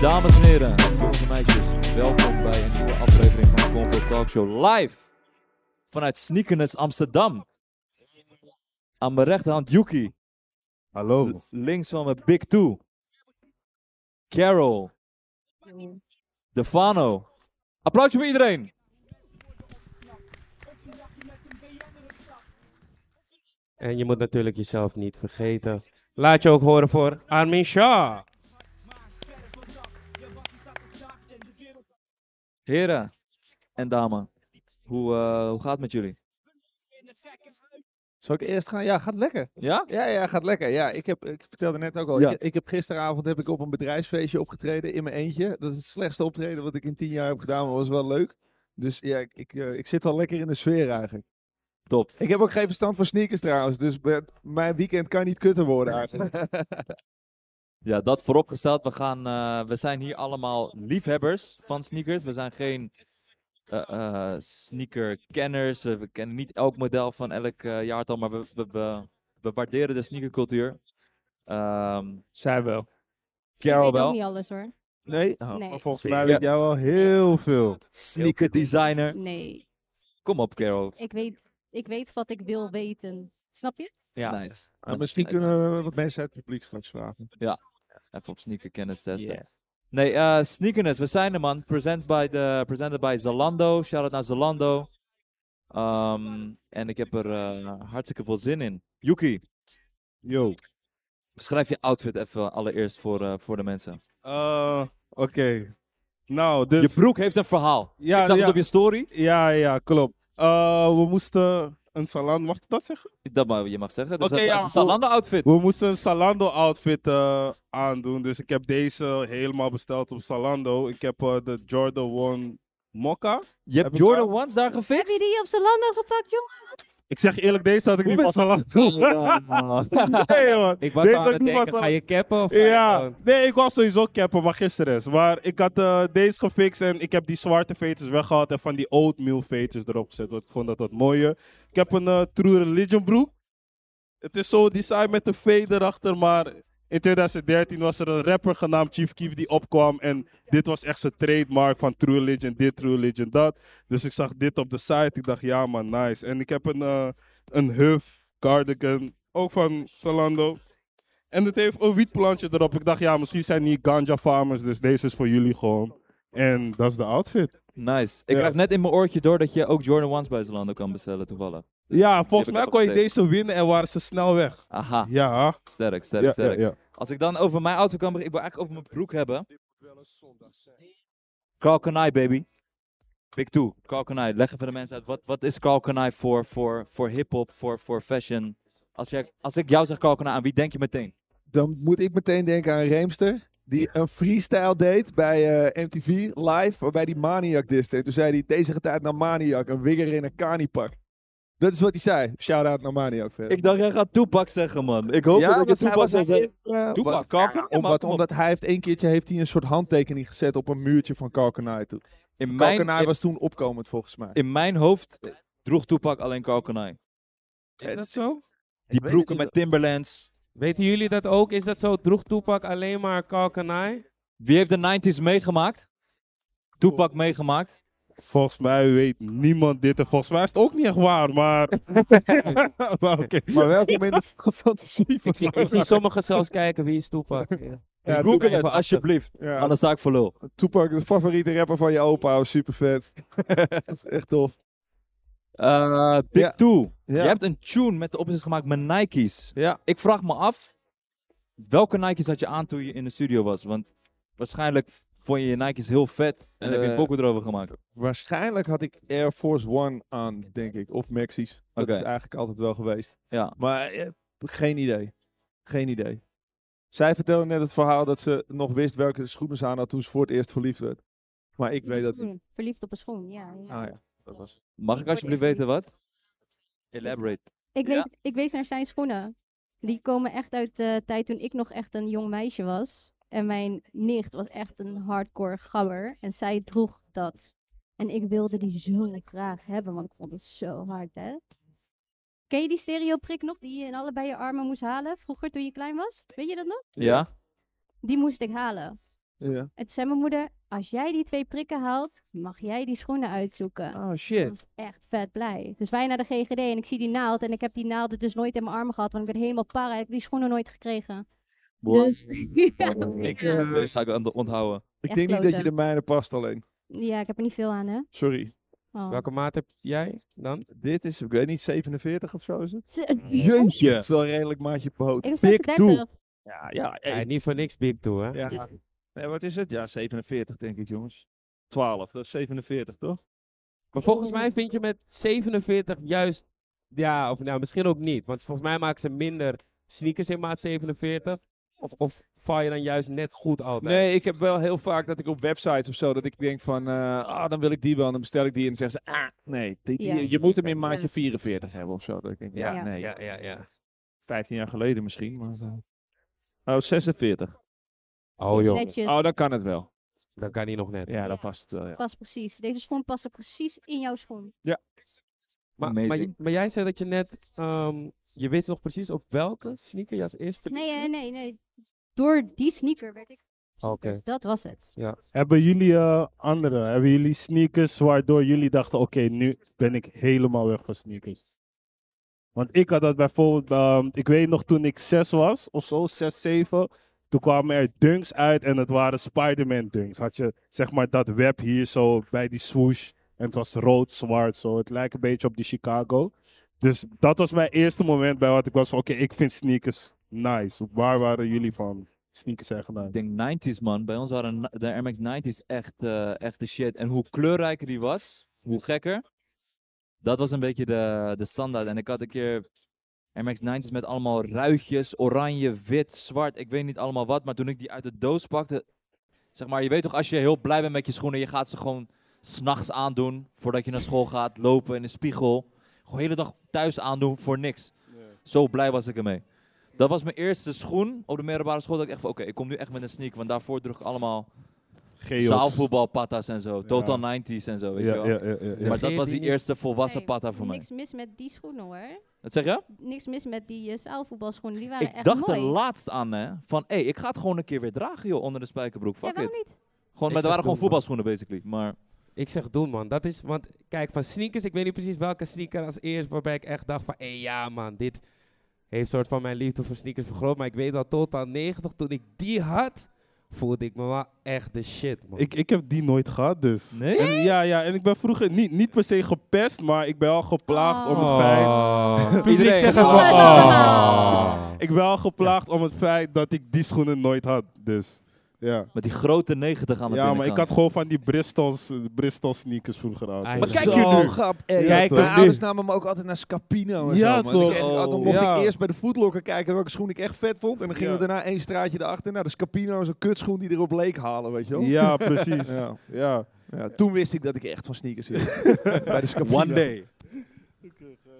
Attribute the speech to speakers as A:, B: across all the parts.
A: Dames en heren, jongens en meisjes, welkom bij een nieuwe aflevering van de Comfort Talk Show live vanuit Sneakernes Amsterdam. Aan mijn rechterhand Yuki,
B: Hallo.
A: links van mijn Big Two, Carol, Defano. Applausje voor iedereen!
C: En je moet natuurlijk jezelf niet vergeten. Laat je ook horen voor Armin Shah.
A: Heren en dames, hoe, eh, hoe gaat het met jullie?
B: Zal ik eerst gaan? Ja, gaat lekker.
A: Ja?
B: Ja, ja, gaat lekker. Ja, ik, heb, ik vertelde net ook al.
A: Ja.
B: Ik, ik heb gisteravond heb ik op een bedrijfsfeestje opgetreden in mijn eentje. Dat is het slechtste optreden wat ik in tien jaar heb gedaan, maar was wel leuk. Dus ja, ik, ik, eh, ik zit al lekker in de sfeer eigenlijk.
A: Top.
B: Ik heb ook geen verstand van sneakers trouwens, dus be- mijn weekend kan niet kutter worden eigenlijk.
A: Ja, dat vooropgesteld. We, gaan, eh, we zijn hier allemaal liefhebbers van sneakers. We zijn geen eh, eh, sneakerkenners. We, we kennen niet elk model van elk eh, jaartal, maar we, we, we, we waarderen de sneakercultuur. Ehm
D: Zij wel.
A: Carol
E: ik weet
A: wel.
E: ook niet alles hoor.
B: Nee?
E: Nee. maar
D: volgens
B: mij weet jij wel heel veel.
A: sneaker designer.
E: Nee,
A: Kom op, Carol.
E: ik weet, ik weet wat ik wil weten. Snap je?
D: Ja.
A: Nice.
B: Maar misschien kunnen we wat mensen uit het publiek straks vragen.
A: Even op sneakerkennis testen. Nee, eh sneakerness, we zijn er man. Present by de, presented by Zalando. Shout out naar Zalando. Ehm, en ik heb er eh, hartstikke veel zin in. Yuki,
C: Yo.
A: beschrijf je outfit even allereerst voor, eh, voor de mensen.
C: Dus- Eh, Oké. Nou,
A: Je
C: dus...
A: broek heeft een verhaal.
C: Ja,
A: ik zag
C: ja.
A: het op je story.
C: Ja, ja, klopt. Eh, we moesten een Salando... Mag ik dat zeggen?
A: Dat maar, je mag zeggen. Dus
C: Oké,
A: dat is
C: ja,
A: een Zalando outfit.
C: We moesten een Salando-outfit eh, aandoen. Dus ik heb deze helemaal besteld op Salando. Ik heb eh, de Jordan 1 Mokka.
A: Je
C: Heb
A: hebt
C: ik
A: Jordan Ones daar
E: Heb je
A: gefixt?
E: die op zijn landen gepakt, jongen?
C: Ik zeg eerlijk, deze had ik
A: Hoe
C: niet van
A: is-
C: Salando. Nee, man.
D: Ik was
C: Deze
D: aan
C: ook
D: het
C: niet
D: denken,
C: van-
D: ga je cappen of ga je
C: Ja,
D: gewoon-
C: nee, ik was sowieso capper, maar gisteren is. Maar ik had eh, deze gefixt en ik heb die zwarte veters weggehaald en van die oatmeal veters erop gezet. Want ik vond dat wat mooier. Ik heb een eh, True Religion broek. Het is zo design met een V erachter, maar in 2013 was er een rapper genaamd Chief Keef die opkwam. En dit was echt zijn trademark van True Religion, dit, True Religion, dat. Dus ik zag dit op de site. Ik dacht, ja man, nice. En ik heb een, eh een Huff cardigan, ook van Zalando. En het heeft een wietplantje erop. Ik dacht, ja, misschien zijn die ganja farmers, dus deze is voor jullie gewoon. En dat is de outfit.
A: Nice. Ik
C: Ja.
A: krijg net in mijn oortje door dat je ook Jordan Ones bij Zalando kan bestellen toevallig.
C: Ja,
A: ik
C: volgens mij
A: ook
C: kon je
A: getekend.
C: deze winnen en waren ze snel weg.
B: Ah,
A: Aha,
C: Ja,
A: sterk, sterk,
C: ja, ja,
A: sterk.
C: ja.
A: Als ik dan over mijn outfit kan beginnen, ik wil eigenlijk over mijn broek hebben. Carl Kanai, baby. Big two. Carl Kanai. Leg even de mensen uit. Wat, wat is Carl Kanai voor, voor, voor hip-hop, voor, voor fashion? Als, jij, als ik jou zeg Carl Kanai, aan wie denk je meteen?
B: Dan moet ik meteen denken aan Reemster. Die een freestyle deed bij eh, MTV live, waarbij die Maniac dist. En toen zei hij, deze gaat uit naar Maniac, een wigger in een kanipak. Dat is wat hij zei. Shout-out naar Maniac verder.
A: Ik dacht, jij gaat Tupac zeggen, man. Ik hoop dat je Tupac zou zeggen. Tupac, Carl Kanai, man,
B: omdat,
A: kom op.
B: omdat hij heeft één keertje heeft hij een soort handtekening gezet op een muurtje van Kalkenai toe.
A: in, mijn,
B: Kalkenai
A: in,
B: was toen opkomend volgens mij.
A: in mijn hoofd eh, droeg Tupac alleen Carl Kanai.
D: Is dat zo?
A: Die
B: weet
A: broeken
B: het
A: met Timberlands.
D: Weten jullie dat ook? Is dat zo? Droeg Toepak alleen maar Kalkanai?
A: Wie heeft de 90s meegemaakt? Tupac meegemaakt.
C: Volgens mij weet niemand dit en volgens mij is het ook niet echt waar, maar... maar oké.
B: Maar welkom in de fantasie van
D: Ik zie, ik zie sommigen zelfs kijken wie is Toepak. Ja.
B: Ja,
A: Google
D: Tupac
A: het,
D: even
A: alsjeblieft.
B: ja,
A: Anders sta ik voor lul.
B: Tupac, de favoriete rapper van je opa, super vet. dat is echt tof.
A: Eh Big
B: Ja.
A: Two.
B: Ja.
A: Je hebt een tune met de opzet gemaakt met Nike's.
B: Ja.
A: Ik vraag me af, welke Nike's had je aan toen je in de studio was? Want waarschijnlijk vond je je Nike's heel vet en heb je een
B: Eh,
A: pokoe erover gemaakt.
B: Waarschijnlijk had ik Air Force One aan, denk ik. Of Maxis. Dat
A: Oké.
B: is eigenlijk altijd wel geweest.
A: Ja.
B: Maar eh, geen idee. Geen idee. Zij vertelde net het verhaal dat ze nog wist welke schoenen ze aan had toen ze voor het eerst verliefd werd. Maar ik weet dat niet.
E: Schoen. Verliefd op een schoen, ja. ja.
B: Ah ja, dat was
A: Mag ik
E: word
A: alsjeblieft
E: echt
A: weten wat? Elaborate.
E: Ik,
A: Ja.
E: wees, ik wees naar zijn schoenen. Die komen echt uit de tijd toen ik nog echt een jong meisje was. En mijn nicht was echt een hardcore gabber. En zij droeg dat. En ik wilde die zo graag hebben, want ik vond het zo hard, hè. Ken je die stereoprik nog die je in allebei je armen moest halen? Vroeger toen je klein was? Weet je dat nog?
A: Ja?
E: Die moest ik halen.
B: Ja.
E: En toen zei mijn moeder, als jij die twee prikken haalt, mag jij die schoenen
D: Ah,
E: uitzoeken.
A: Oh
E: Ik
A: shit.
E: was echt vet blij. Dus wij naar de GGD en ik zie die naald. En ik heb die naald dus nooit in mijn armen gehad, want ik ben helemaal para. Ik heb die schoenen nooit gekregen.
A: Boah.
E: Dus ja,
A: Ik,
E: ja.
A: eh, deze ga ik aan- onthouden.
B: Ik
E: Echt
B: denk niet dat je
E: kloten.
B: de mijne past alleen.
E: ja, ik heb er niet veel aan, hè?
B: Sorry.
E: Oh.
D: Welke maat heb jij dan?
B: Dit is, ik weet niet, 47 of zo is het?
E: Ik
B: Het is wel een redelijk maatje poot.
E: heb
B: Big toe.
E: 36.
A: Ja, ja.
D: Ja, niet voor niks big toe, hè?
B: Ja.
A: Nee, wat is het? Ja, 47 denk ik, jongens. 12, dat is 47, toch?
D: Maar volgens mij vind je met 47 juist, ja, of nou misschien ook niet. Want volgens mij maken ze minder sneakers in maat 47. Of, of val je dan juist net goed altijd?
B: Nee, ik heb wel heel vaak dat ik op websites of zo, dat ik denk van, eh, ah, dan wil ik die wel, en dan bestel ik die en dan zeggen ze, ah, nee, die- die-
E: Ja.
B: je moet hem in maatje
E: Ja.
B: 44 hebben of zo. Dat ik denk, ja,
E: Ja.
B: nee.
D: Ja, ja, ja.
B: 15 jaar geleden misschien, maar... eh, Oh, 46.
D: Oh joh,
E: Netjes.
B: Oh, dan kan het wel.
D: dan kan die nog net.
B: Ja, dan
E: Ja.
B: past het wel, ja.
E: Past precies. Deze schoen past precies in jouw schoen.
D: Maar,
A: Amazing.
D: maar, j- maar jij zei dat je net, ehm, je wist nog precies op welke sneaker je als eerst verliefd
E: Nee, nee,
D: werd?
E: nee. nee. Door die sneaker werd ik. Dus
D: Oké.
E: Dat was het.
C: Hebben jullie eh, andere, hebben jullie sneakers waardoor jullie dachten, oké, nu ben ik helemaal weg van sneakers? Want ik had dat bijvoorbeeld, ehm, ik weet nog toen ik zes was of zo, zes, zeven, toen kwamen er dunks uit en het waren Spider-Man dunks. Had je zeg maar dat web hier zo bij die swoosh en het was rood, zwart zo. Het lijkt een beetje op die Chicago. Dus dat was mijn eerste moment bij wat ik was van, oké, ik vind sneakers nice. Waar waren jullie van? Sneakers zijn gedaan.
A: Ik denk 90s, man. Bij ons waren na- de Air Max 90s echt, eh, echt de shit. En hoe kleurrijker die was, hoe gekker. Dat was een beetje de, de standaard. En ik had een keer Air Max 90s met allemaal ruitjes, oranje, wit, zwart. Ik weet niet allemaal wat, maar toen ik die uit de doos pakte... Zeg maar, je weet toch, als je heel blij bent met je schoenen, je gaat ze gewoon s'nachts aandoen voordat je naar school gaat, lopen in de spiegel. Gewoon de hele dag thuis aandoen voor niks. Zo blij was ik ermee. Dat was mijn eerste schoen op de middelbare school. Dat ik echt van, oké, ik kom nu echt met een sneak. Want daarvoor droeg ik allemaal
C: Geox.
A: zaalvoetbalpatas en zo.
C: Ja.
A: Total 90s en zo, weet
C: Ja,
A: je wel.
C: ja, ja, ja, ja.
A: Maar dat was die
D: Vergeet
A: eerste volwassen
E: Hey,
A: patta voor mij.
E: Niks mis met die schoenen hoor.
A: Wat zeg je?
E: Niks mis met die eh, zaalvoetbalschoenen. Die waren
A: Ik
E: echt
A: dacht
E: mooi.
A: er laatst aan, hè. Van, hé, ik ga het gewoon een keer weer dragen, joh, onder de spijkerbroek.
E: ja,
A: Fuck
E: waarom
A: it.
E: niet?
A: Gewoon, maar dat
D: Ik zeg
A: waren gewoon
D: doen, man.
A: voetbalschoenen, basically. Maar
D: Ik zeg doen man, dat is, want kijk van sneakers, ik weet niet precies welke sneaker als eerst waarbij ik echt dacht van, hé ja man, dit heeft soort van mijn liefde voor sneakers vergroot. Maar ik weet dat tot aan 90, toen ik die had, voelde ik me wel echt de shit man.
C: Ik, ik heb die nooit gehad, dus.
A: Nee?
C: En, ja, ja, en ik ben vroeger niet, niet per se gepest, maar ik ben al geplaagd om
D: Oh.
C: het feit.
A: Iedereen
C: zegt
A: geplaagd.
C: even,
E: Oh.
C: Ik ben al geplaagd om het feit dat ik die schoenen nooit had, dus. Ja,
A: met die grote 90 aan de
C: ja maar ik
A: binnenkant.
C: had gewoon van die Bristol's, eh, Bristol sneakers vroeger
D: Ah,
C: aan.
D: Maar
C: Maar
D: ja.
C: kijk
D: kijk
C: je
B: Zo
C: nu.
B: grap. eh,
D: Kijk
C: hem
B: mijn
C: nu.
B: ouders namen me ook altijd naar Scapino en
C: Ja,
B: zo. man. Dan
C: zo.
B: kreeg ik altijd- Dan
A: Oh.
B: mocht
C: Ja.
B: ik eerst bij de Footlocker kijken welke schoen ik echt vet vond. En dan gingen we
C: Ja.
B: daarna één straatje erachter naar de Scapino, zo'n kutschoen die erop leek halen, weet je wel.
C: Ja, precies.
B: Ja.
C: Ja.
B: Ja, toen wist ik dat ik echt van sneakers hield. bij de Scapino.
A: One day.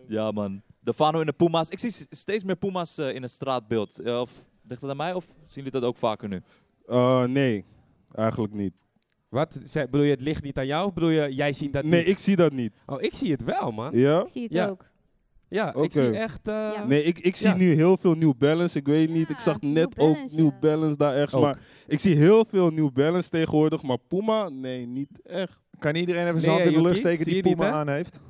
A: Ja, man. De Fano en de Puma's. Ik zie s- steeds meer Puma's eh, in het straatbeeld. Eh, of, ligt dat aan mij of zien jullie dat ook vaker nu?
C: Eh, nee, eigenlijk niet.
D: Wat? Zij- bedoel je het ligt niet aan jou of bedoel je jij ziet dat
C: Nee,
D: niet?
C: ik zie dat niet.
D: Oh, ik zie het wel man.
C: Ja?
E: Ik zie het
D: Ja.
E: ook.
D: Ja, ik
C: Oké.
D: zie echt... eh,
E: Ja.
C: Nee, ik, ik zie
D: Ja.
C: nu heel veel New Balance. Ik weet niet, ik
E: Ja,
C: zag
E: New
C: net ook
E: Balance,
C: New
E: ja.
C: Balance daar ergens.
D: Ook.
C: Maar ik zie heel veel New Balance tegenwoordig. Maar Puma, nee, niet echt.
B: Kan iedereen even
D: Nee,
B: zijn hand in de
D: Yuki,
B: lucht steken
D: zie
B: die
D: je niet,
B: Puma
D: hè?
B: aan heeft?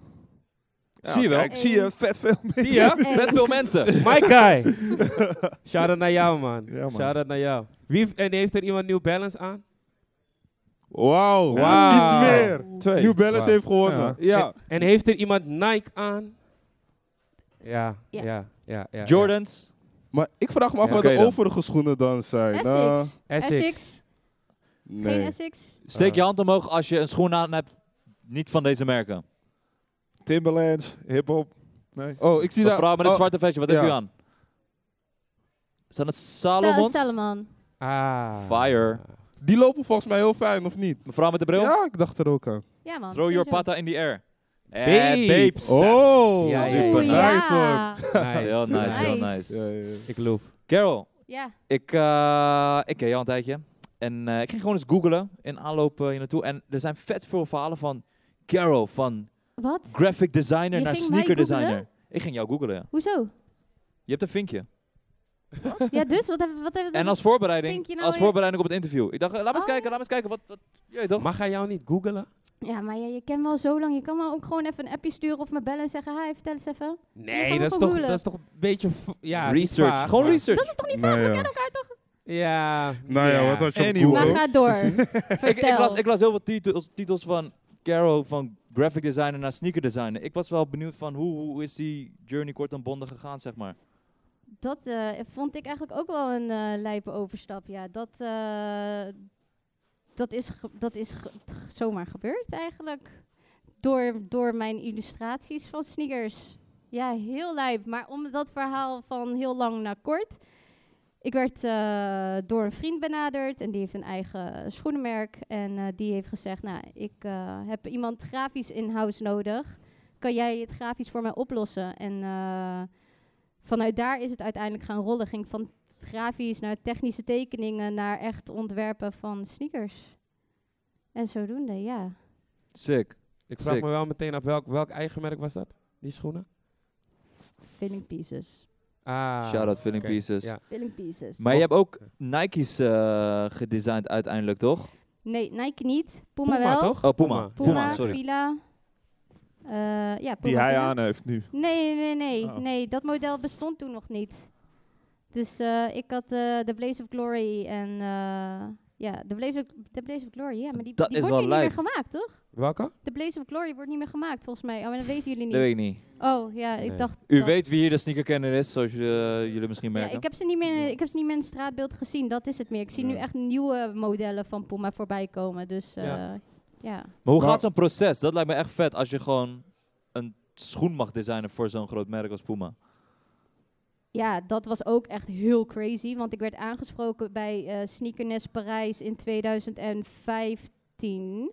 B: Ja,
A: Zie je wel.
B: kijk, zie je, Mm. vet veel mensen.
D: Zie je?
A: Vet veel mensen.
D: My guy! Shout-out naar jou man.
C: Ja, man.
D: Shout-out naar jou. Wie, en heeft er iemand New Balance aan?
C: Wauw,
D: Wauw.
C: iets meer.
B: Twee.
C: New Balance
D: Wauw.
C: heeft gewonnen.
B: Ja.
C: Ja.
D: En, en heeft er iemand Nike aan? Ja, ja,
E: Ja.
D: ja. ja, ja.
A: Jordans.
C: Maar ik vraag me af
D: Ja,
C: wat
A: oké
C: de
A: dan.
C: overige schoenen dan zijn. Nou,
E: Essex.
D: Essex.
E: Geen
C: nee.
E: Essex.
A: Steek je hand omhoog als je een schoen aan hebt. Niet van deze merken.
B: Timberlands, hip-hop.
C: Oh, ik zie
A: Een
C: daar.
A: vrouw met het
C: oh,
A: zwarte vestje, wat heeft
C: ja.
A: u aan? Zijn het
E: Salomon.
A: Salomons?
E: Salomon.
D: Ah.
A: Fire.
C: Die lopen volgens mij heel fijn, of niet?
A: Mevrouw met de bril?
C: Ja, ik dacht er ook aan.
E: Ja man.
A: Throw your
E: sowieso.
A: pata in the air. Eh,
D: Babes.
A: babes.
C: Oh,
D: Ja,
E: Oeh,
A: ja. Super
E: ja.
C: nice hoor.
D: Nice.
A: Heel nice, heel
E: Nice.
A: nice.
C: Ja, ja, ja.
D: Ik loof.
A: Carol,
E: Ja.
A: Ik, eh, ik ken jou een tijdje. En eh, ik ging gewoon eens googlen in aanloop eh, hier naartoe. En er zijn vet veel verhalen van Carol, van
E: Wat?
A: graphic designer
E: Je
A: naar
E: ging mij
A: sneaker
E: googlen?
A: designer. Ik ging jou googlen, ja.
E: Hoezo?
A: Je hebt een vinkje.
E: Ja, dus wat hebben wat hebben we
A: En als
E: Denk
A: voorbereiding,
E: je nou
A: als
E: weer-
A: voorbereiding op het interview. Ik dacht, eh, laat maar eens
E: Oh,
A: kijken, laat maar eens kijken. Wat, wat, je weet toch?
D: Mag hij jou niet googelen?
E: Ja, maar je, je kent me al zo lang. Je kan me ook gewoon even een appje sturen of me bellen en zeggen: Hi, vertel eens even.
D: Nee,
E: gewoon
D: dat is, toch,
E: googelen.
D: dat is toch een beetje... v- Ja, niet
A: research.
D: vaag,
A: Gewoon
D: maar-
A: research.
E: Dat is toch niet
C: Nou
E: vaak? We
C: ja.
E: kennen elkaar toch?
D: Ja.
C: Nou ja, wat had je
B: Anyway.
C: op
E: Maar
C: Google?
E: ga door.
A: ik, ik, las,
E: Vertel.
A: ik las heel veel titels, titels van Caro van graphic designer naar sneaker designer. Ik was wel benieuwd van hoe, hoe is die journey kort en bonden gegaan, zeg maar.
E: Dat eh, vond ik eigenlijk ook wel een eh lijpe overstap. Ja, dat, eh, dat is, ge- dat is ge- t- zomaar gebeurd eigenlijk. Door, door mijn illustraties van sneakers. Ja, heel lijp. Maar om dat verhaal van heel lang naar kort. Ik werd eh, door een vriend benaderd en die heeft een eigen schoenenmerk. En eh, die heeft gezegd, nou, ik eh, heb iemand grafisch in-house nodig. Kan jij het grafisch voor mij oplossen? En... eh, vanuit daar is het uiteindelijk gaan rollen. Ging van grafisch naar technische tekeningen naar echt ontwerpen van sneakers. En zodoende, ja.
A: Sick. Ik
D: Ik vraag
A: Sick.
D: me wel meteen af, welk, welk eigen merk was dat? Die schoenen?
E: Filling pieces.
D: Ah.
A: Shout-out Filling
D: oké,
A: Pieces.
D: Ja.
E: Filling pieces.
A: Maar je hebt ook Nike's eh, gedesigned uiteindelijk, toch?
E: nee, Nike niet. Puma,
D: Puma,
E: wel.
D: toch?
A: Oh, Puma.
E: Puma,
A: Puma, sorry.
E: Fila. Eh, ja, Puma.
B: Die hij
E: Fila.
B: aan heeft nu.
E: Nee, nee, nee.
B: Oh.
E: Nee, dat model bestond toen nog niet. Dus eh, ik had eh de Blaze of Glory en... eh, ja, de Blaze of, de Blaze of Glory, ja. Maar die,
A: Dat
E: die
A: is
E: wordt
A: wel
E: nu niet meer
A: lijp.
E: gemaakt, toch?
D: Welke?
E: De Blaze of Glory wordt niet meer gemaakt, volgens mij. Oh, maar dat weten jullie niet.
A: Dat weet ik niet.
E: Oh ja, ik
D: Nee.
E: dacht.
A: U
E: dat-
A: weet wie hier de sneakerkenner is, zoals jullie, eh, jullie misschien
E: Ja,
A: merken.
E: ik heb ze niet meer. Ik heb ze niet meer in het straatbeeld gezien. Dat is het meer. Ik zie nu
C: Ja.
E: echt nieuwe modellen van Puma voorbij komen. Dus eh,
D: Ja.
E: ja.
A: Maar hoe
C: Maar-
A: gaat zo'n proces? Dat lijkt me echt vet als je gewoon een schoen mag designen voor zo'n groot merk als Puma.
E: Ja, dat was ook echt heel crazy. Want ik werd aangesproken bij eh Sneakernest Parijs in 2015.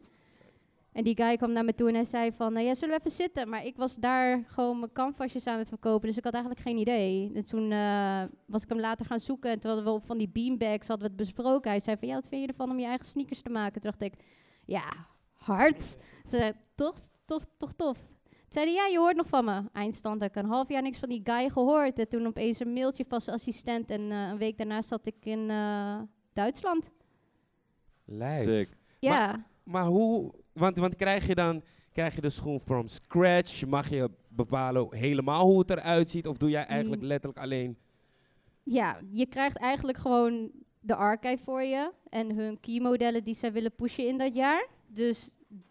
E: En die guy kwam naar me toe en hij zei van, nou ja, zullen we even zitten? Maar ik was daar gewoon mijn canvasjes aan het verkopen, dus ik had eigenlijk geen idee. En toen eh, was ik hem later gaan zoeken en toen hadden we op van die beanbags hadden we het besproken. Hij zei van, ja, wat vind je ervan om je eigen sneakers te maken? Toen dacht ik, ja, hard. Ze zei, toch, toch, toch tof. Toen zei hij, ja, je hoort nog van me. Eindstand, heb ik een half jaar niks van die guy gehoord. En toen opeens een mailtje van zijn assistent. En eh, een week daarna zat ik in eh, Duitsland.
D: Lijf.
A: Sick.
E: Ja,
D: Maar hoe... Want, want krijg je dan... Krijg je de schoen from scratch? Mag je bepalen helemaal hoe het eruit ziet? Of doe jij eigenlijk
E: Mm.
D: letterlijk alleen...
E: ja, je krijgt eigenlijk gewoon de archive voor je. En hun key modellen die zij willen pushen in dat jaar. Dus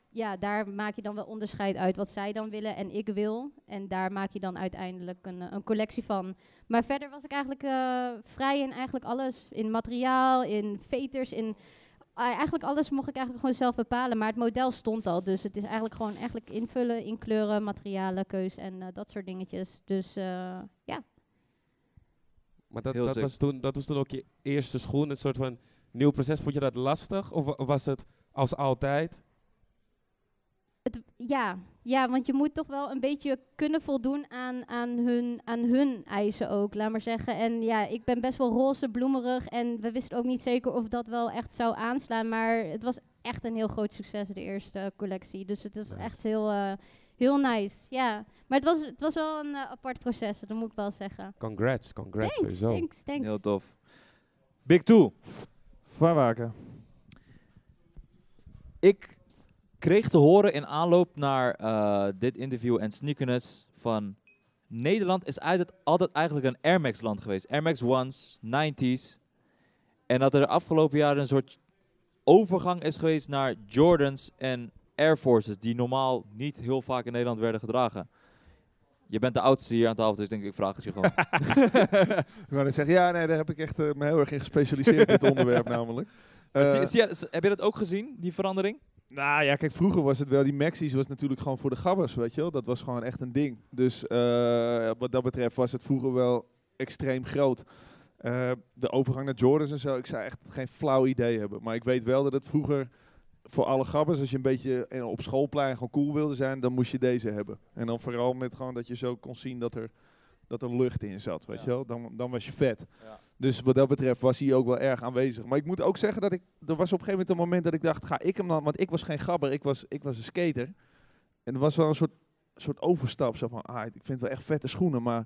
E: ja, daar maak je dan wel onderscheid uit wat zij dan willen en ik wil. En daar maak je dan uiteindelijk een, eh, een collectie van. Maar verder was ik eigenlijk eh, vrij in eigenlijk alles. In materiaal, in veters, in... ah, Eigenlijk alles mocht ik eigenlijk gewoon zelf bepalen, maar het model stond al. Dus het is eigenlijk gewoon eigenlijk invullen in kleuren, materialen, keus en eh, dat soort dingetjes. Dus eh, ja,
D: Maar dat,
A: Heel
D: dat,
A: sick.
D: was toen, dat was toen ook je eerste schoen. Een soort van nieuw proces. Vond je dat lastig? Of wa- was het als altijd?
E: Het, ja. ja, want je moet toch wel een beetje kunnen voldoen aan, aan, hun, aan hun eisen ook, laat maar zeggen. En ja, ik ben best wel roze, bloemerig en we wisten ook niet zeker of dat wel echt zou aanslaan. Maar het was echt een heel groot succes, de eerste collectie. Dus het is
D: Nice.
E: echt heel, eh, heel nice, ja. Maar het was, het was wel een eh, apart proces, dat moet ik wel zeggen.
D: Congrats, congrats
E: Thanks,
D: sowieso.
E: thanks, thanks.
A: Heel tof. Big Two.
B: Waarwaken.
A: Ik kreeg te horen in aanloop naar eh, dit interview en sneakerness van... Nederland is altijd, altijd eigenlijk een Air Max land geweest. Air Max Ones, 90s. En dat er de afgelopen jaren een soort overgang is geweest naar Jordans en Air Forces. Die normaal niet heel vaak in Nederland werden gedragen. Je bent de oudste hier aan tafel, dus ik denk ik vraag het je gewoon.
B: Ik wou net zeggen, ja, nee, daar heb ik echt eh, me heel erg in gespecialiseerd, dit onderwerp namelijk.
A: Maar
B: Eh,
A: zie- zie je- heb je dat ook gezien, die verandering?
B: Nou ja, kijk, vroeger was het wel, die Maxis was natuurlijk gewoon voor de gabbers, weet je wel. Dat was gewoon echt een ding. Dus eh, wat dat betreft was het vroeger wel extreem groot. Eh, de overgang naar Jordans en zo, ik zou echt geen flauw idee hebben. Maar ik weet wel dat het vroeger voor alle gabbers, als je een beetje eh, op schoolplein gewoon cool wilde zijn, dan moest je deze hebben. En dan vooral met gewoon dat je zo kon zien dat er, dat er lucht in zat, weet
A: Ja.
B: je wel. Dan, dan was je vet.
A: Ja.
B: Dus wat dat betreft was hij ook wel erg aanwezig. Maar ik moet ook zeggen dat ik. Er was op een gegeven moment een moment dat ik dacht: ga ik hem dan. Want ik was geen gabber, ik was, ik was een skater. En er was wel een soort, soort overstap. Zo van: ah, ik vind wel echt vette schoenen. Maar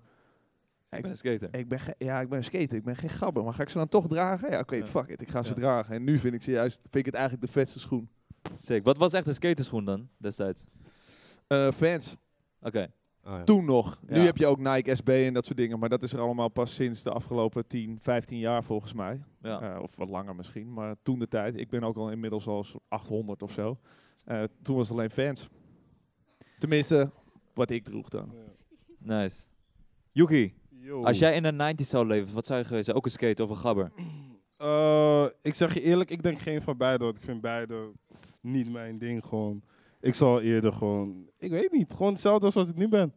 A: Ik ben een skater.
B: Ik ben ge- ja, ik ben een skater. Ik ben geen gabber. Maar ga ik ze dan toch dragen? Ja, oké,
A: Ja.
B: fuck it. Ik ga ze
A: Ja.
B: dragen. En nu vind ik ze juist, vind ik het eigenlijk de vetste schoen.
A: Sick. Wat was echt een skaterschoen dan, destijds?
B: Eh, fans,
A: Oké.
D: Oh, ja.
B: toen nog. Nu
A: Ja.
B: heb je ook Nike SB en dat soort dingen. Maar dat is er allemaal pas sinds de afgelopen 10, 15 jaar volgens mij.
A: Ja.
B: Eh, of wat langer misschien. Maar toen de tijd. Ik ben ook al inmiddels al zo'n 800 of zo. Eh, toen was het alleen fans. Tenminste, wat ik droeg dan.
A: Nice. Yuki,
C: Yo.
A: als jij in de 90s zou leven, wat zou je geweest zijn? Ook een skater of een gabber?
C: Eh, ik zeg je eerlijk, ik denk geen van beide. Want ik vind beide niet mijn ding gewoon. Ik zal eerder gewoon, ik weet niet, gewoon hetzelfde als wat ik nu ben.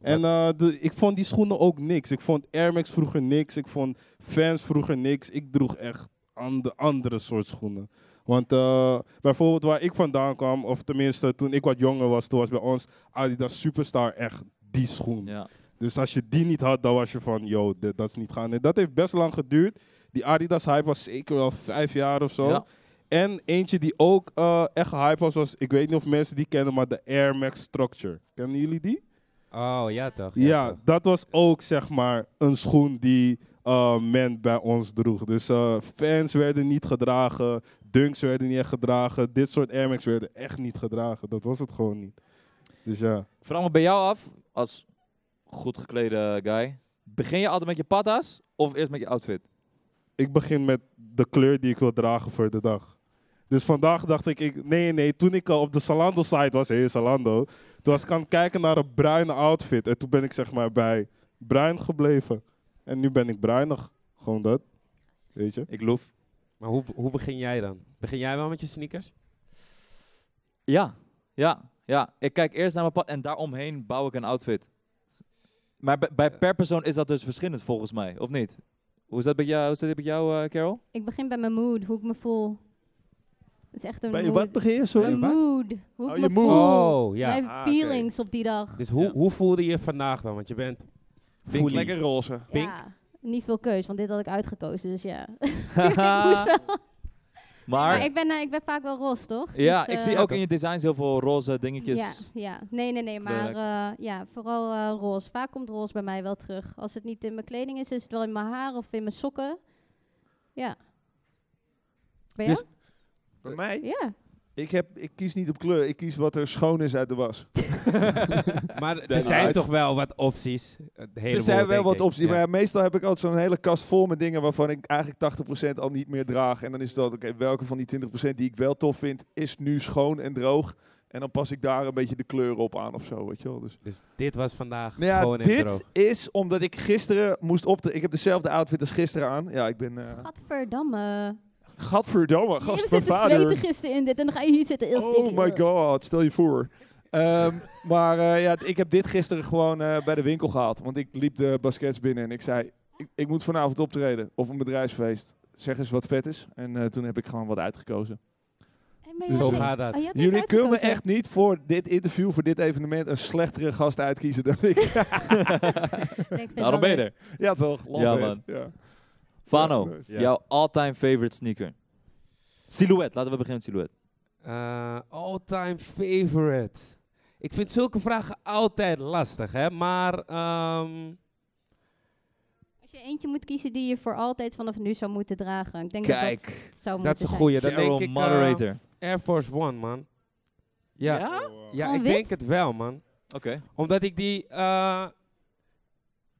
C: En eh, de, ik vond die schoenen ook niks. Ik vond Air Max vroeger niks. Ik vond fans vroeger niks. Ik droeg echt ande, andere soort schoenen. Want eh, bijvoorbeeld waar ik vandaan kwam, of tenminste toen ik wat jonger was, toen was bij ons Adidas Superstar echt die schoen.
A: Ja.
C: Dus als je die niet had, dan was je van, yo, dit- dat is niet gaan. En dat heeft best lang geduurd. Die Adidas hype was zeker wel vijf jaar of zo.
A: Ja.
C: En eentje die ook eh, echt hype was, was, ik weet niet of mensen die kennen, maar de Air Max Structure. Kennen jullie die?
D: Oh, ja toch.
C: Ja,
D: toch.
C: dat was ook zeg maar een schoen die eh, men bij ons droeg. Dus eh, fans werden niet gedragen, dunks werden niet echt gedragen, dit soort Air Max werden echt niet gedragen. Dat was het gewoon niet. Dus ja.
A: Ik Vraag me bij jou af, als goed geklede guy. Begin je altijd met je patas of eerst met je outfit?
C: ik begin met de kleur die ik wil dragen voor de dag. Dus vandaag dacht ik, ik nee, nee, toen ik al op de Zalando-site was, hey Zalando, toen was ik aan het kijken naar een bruine outfit. En toen ben ik zeg maar bij bruin gebleven. En nu ben ik bruinig. Gewoon dat. Weet je?
A: Ik loef.
D: Maar hoe, hoe begin jij dan? Begin jij wel met je sneakers?
A: Ja, ja, ja. Ik kijk eerst naar mijn pad en daaromheen bouw ik een outfit. Maar bij, bij per persoon is dat dus verschillend volgens mij, of niet? Hoe is dat bij jou, hoe is dat bij jou eh, Carol?
E: Ik begin bij mijn mood, hoe ik me voel. Het is echt een
B: Bij je
E: mood.
B: wat begin je? Sorry.
E: Mijn mood, hoe
B: Oh,
E: ik
B: je
E: me
B: mood.
E: voel.
D: Oh, ja.
E: Mijn
B: Ah, oké.
E: feelings op die dag.
D: Dus hoe,
A: Ja.
D: hoe voelde je vandaag dan? Want je bent
B: Pink,
D: fully.
B: lekker roze.
D: pink?
E: Ja, niet veel keus, want dit had ik uitgekozen, dus ja. ik moest wel. Maar
A: maar
E: ik ben, eh, ik ben vaak wel roze, toch?
A: ja,
E: Dus,
A: ik
E: eh,
A: zie ook in je designs heel veel roze dingetjes.
E: Ja, ja, nee, nee, nee, maar eh, ja, vooral eh, roze. Vaak komt roze bij mij wel terug. Als het niet in mijn kleding is, is het wel in mijn haar of in mijn sokken. Ja. Bij jou?
D: Dus-
B: Bij mij?
E: ja.
B: Eh, Ik, heb, ik kies niet op kleur. Ik kies wat er schoon is uit de was.
D: Maar er
B: Daaruit.
D: zijn toch wel wat opties. Een
B: Er
D: heleboel,
B: zijn Dus wel
D: denk
B: wat
D: ik.
B: opties.
D: Ja.
B: Maar ja, meestal heb ik altijd zo'n hele kast vol met dingen waarvan ik eigenlijk 80% al niet meer draag. En dan is dat, oké, welke van die 20% die ik wel tof vind, is nu schoon en droog. En dan pas ik daar een beetje de kleur op aan of zo, weet je wel. Dus
D: Dus dit was vandaag
B: Nou ja,
D: gewoon en droog.
B: dit is omdat ik gisteren moest op de. Ik heb dezelfde outfit als gisteren aan. Ja, ik ben. eh
E: Gadverdamme.
B: Gadverdamme,
E: Je
B: gast,
E: hebt
B: mijn
E: zitten zweten
B: vader.
E: gisteren in dit en dan ga je hier zitten heel
B: Oh
E: sticky.
B: my god, stel je voor. Ehm, maar eh, ja, ik heb dit gisteren gewoon eh, bij de winkel gehaald. Want ik liep de baskets binnen en ik zei: ik, ik moet vanavond optreden of een bedrijfsfeest. Zeg eens wat vet is. En eh, toen heb ik gewoon wat uitgekozen.
E: Hey, maar
B: Zo
E: jij-
D: gaat dat.
E: Oh, jij hebt niks
B: Jullie kunnen
E: uitgekozen.
B: echt niet voor dit interview, voor dit evenement, een slechtere gast uitkiezen dan ik.
E: Nee, ik vind
A: Daarom
E: het
A: Nou, ben
E: wel
A: je
E: leuk.
A: er.
B: ja, toch? Lambert,
A: man.
B: Ja.
A: Fano,
B: Ja, dus. nice.
C: Ja.
A: jouw all-time favorite sneaker. Silhouette, laten we beginnen met silhouette.
D: Eh, all-time favorite. Ik vind zulke vragen altijd lastig, hè. Maar ehm,
E: Als je eentje moet kiezen die je voor altijd vanaf nu zou moeten dragen. Ik denk dat dat
A: Kijk,
E: het zou
D: dat is een
E: moeten zijn.
D: goeie. Dan
A: Carol
D: denk ik eh,
A: Moderator.
D: Air Force One, man. Ja, ja?
E: Gewoon
D: ik
E: wit?
D: denk het wel, man.
A: Oké.
D: Omdat ik die... eh,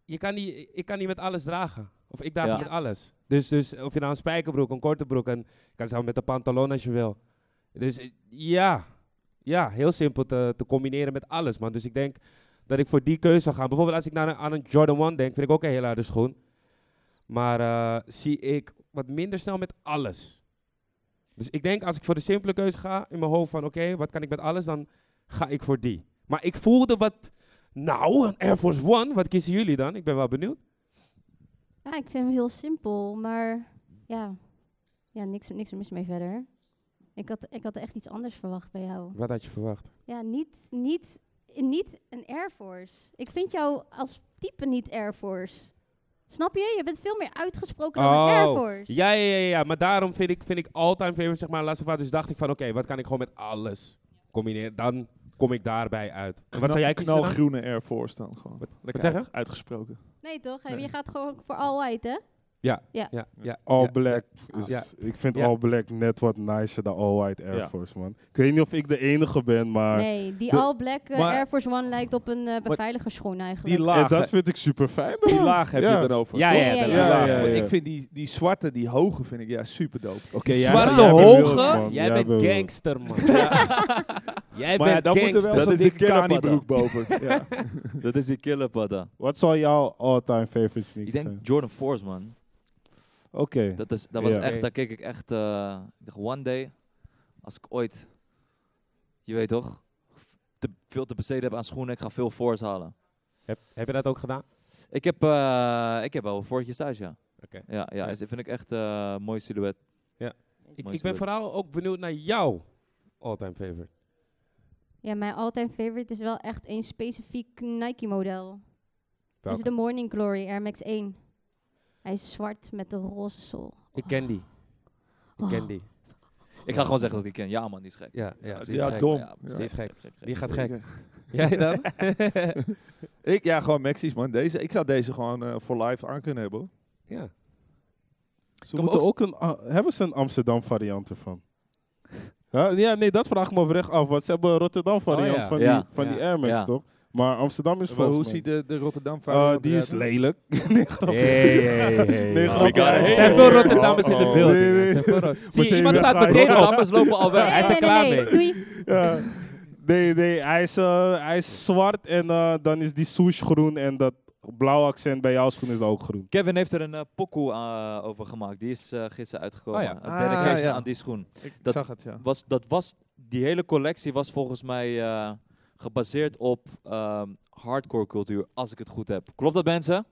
D: je kan die, ik kan die met alles dragen. Of ik draag
A: Ja.
D: die met alles. Dus, dus of je nou een spijkerbroek, een korte broek... en je kan zelf met een pantalon als je wil. Dus eh, ja. Ja, heel simpel te, te combineren met alles, man. Dus ik denk dat ik voor die keuze zou gaan. Bijvoorbeeld als ik naar een, aan een Jordan 1 denk... vind ik ook een hele harde schoen. Maar eh, zie ik wat minder snel met alles. Dus ik denk als ik voor de simpele keuze ga... in mijn hoofd van oké, wat kan ik met alles... dan ga ik voor die. Maar ik voelde wat... Nou, een Air Force One, wat kiezen jullie dan? Ik ben wel benieuwd.
E: Ja, ik vind hem heel simpel, maar ja, ja niks, niks mis mee verder. Ik had, ik had echt iets anders verwacht bij jou.
D: Wat had je verwacht?
E: Ja, niet, niet, niet een Air Force. Ik vind jou als type niet Air Force. Snap je? Je bent veel meer uitgesproken dan een Air
D: Oh,
E: Force.
D: Ja, ja, ja, ja. Maar daarom vind ik, vind ik all-time favorite, zeg maar, laatste vraag. Dus dacht ik van, oké, wat kan ik gewoon met alles combineren? Dan kom ik daarbij uit. En wat zou jij kiezen? dan?
B: Knalgroene Air Force dan gewoon.
D: Wat,
B: Lekker
D: zeg je?
B: uit- Uitgesproken.
E: Nee toch?
B: Nee.
E: Je gaat gewoon voor all white, hè?
D: Ja, ja,
C: All
D: ja.
C: Black. Is,
D: Ja.
C: Ik vind
D: Ja.
C: All Black net wat nicer dan All White Air
B: Ja.
C: Force, man. Ik weet niet of ik de enige ben, maar...
E: nee, die
C: de-
E: all black eh,
B: maar-
E: Air Force One lijkt op een eh beveiligerschoen
B: Die
E: eigenlijk.
C: En
B: laag,
C: dat vind ik super fijn.
B: die laag heb
C: Ja.
B: je dan over.
D: Ja,
E: Ja,
D: ja,
E: ja,
D: de
E: ja.
D: laag.
C: Ja, ja,
B: Want
C: ja.
B: Ik vind die, die zwarte, die hoge, vind ik ja super dope.
C: Oké,
D: Die
C: jij-
D: Zwarte
C: jij bent
D: hoge,
C: wild, man.
D: jij,
C: Jij
D: bent
C: bent
D: gangster, man. Jij
B: Maar ja,
D: bent
B: dan moet er
D: gangster.
B: wel zo'n
A: is een
B: dikke kani
A: kinderpadda.
B: broek boven. ja.
A: Dat is die killer padda.
C: Wat zou jouw all-time favorite sneaker
A: Ik denk
C: zijn?
A: Jordan Force, man.
C: Oké.
A: Dat, is, dat was
C: Ja.
A: echt, daar keek ik echt. eh, ik dacht, one day, als ik ooit, je weet toch, f- te, veel te besteden heb aan schoenen, ik ga veel Force halen.
D: Heb, heb je dat ook gedaan?
A: Ik heb, eh ik heb al voortjes thuis, ja.
D: Oké.
A: Ja, ja,
D: Ja.
A: is- vind ik echt eh, een mooi silhouet.
D: Ik,
A: Mooi
D: ik ben
A: zo.
D: vooral ook benieuwd naar jouw all-time favorite.
E: Ja, mijn all-time favorite is wel echt een specifiek Nike-model. Dat is
D: Welke?
E: de Morning Glory Air Max 1. Hij is zwart met de roze sol.
D: Ik ken die. Ik ken
E: Oh.
D: die.
A: Ik ga gewoon zeggen dat ik die ken. Ja, man, die is gek.
D: Ja, ja, ze is
B: ja,
D: gek.
B: dom.
A: Ja,
D: Die is gek.
A: gek,
D: Die
A: gek.
D: gaat gek. Jij dan?
B: Ik, ja, gewoon Maxis, man. Deze, ik zou deze gewoon eh, voor live aan kunnen hebben. hoor.
D: ja.
C: Ze
D: Kom
C: moeten
D: ook
C: ook een, ah, hebben ze een Amsterdam variant ervan? Ja, ja, nee, dat vraag ik me oprecht af. Want ze hebben een Rotterdam variant
D: Oh, ja.
C: van,
A: Ja.
C: die, van die
D: Ja.
C: Air Max,
A: Ja.
C: toch? Maar Amsterdam is
B: Maar
C: volgens
B: hoe
C: mij-
B: ziet de, de Rotterdam
C: Eh,
B: variant
C: die is
B: eruit?
C: lelijk. nee, grapje.
D: Hey, hey, hey.
C: Nee,
D: Oh,
C: grapje.
A: we got
D: Er
A: it.
D: zijn veel Rotterdammers in de
C: Oh,
D: beeld.
C: nee, nee.
D: Zie je,
C: Meteen
D: iemand staat
C: weggaan.
D: meteen op.
A: Rotterdammers lopen al weg.
D: hij is er klaar mee.
E: Doei.
C: Ja. Nee, nee, hij is, eh, hij is zwart en eh, dan is die swoosh groen en dat blauw accent bij jouw schoen is dan ook groen.
A: Kevin heeft er een eh, pokoe eh, over gemaakt. Die is eh, gisteren uitgekomen.
D: Oh ja.
A: Een
B: Ah,
A: dedication
B: ja.
A: aan die schoen.
B: Ik
A: Dat-
B: zag het, ja.
A: Was, dat was, die hele collectie was volgens mij eh, gebaseerd op ehm, hardcore cultuur, als ik het goed heb. Klopt dat, mensen?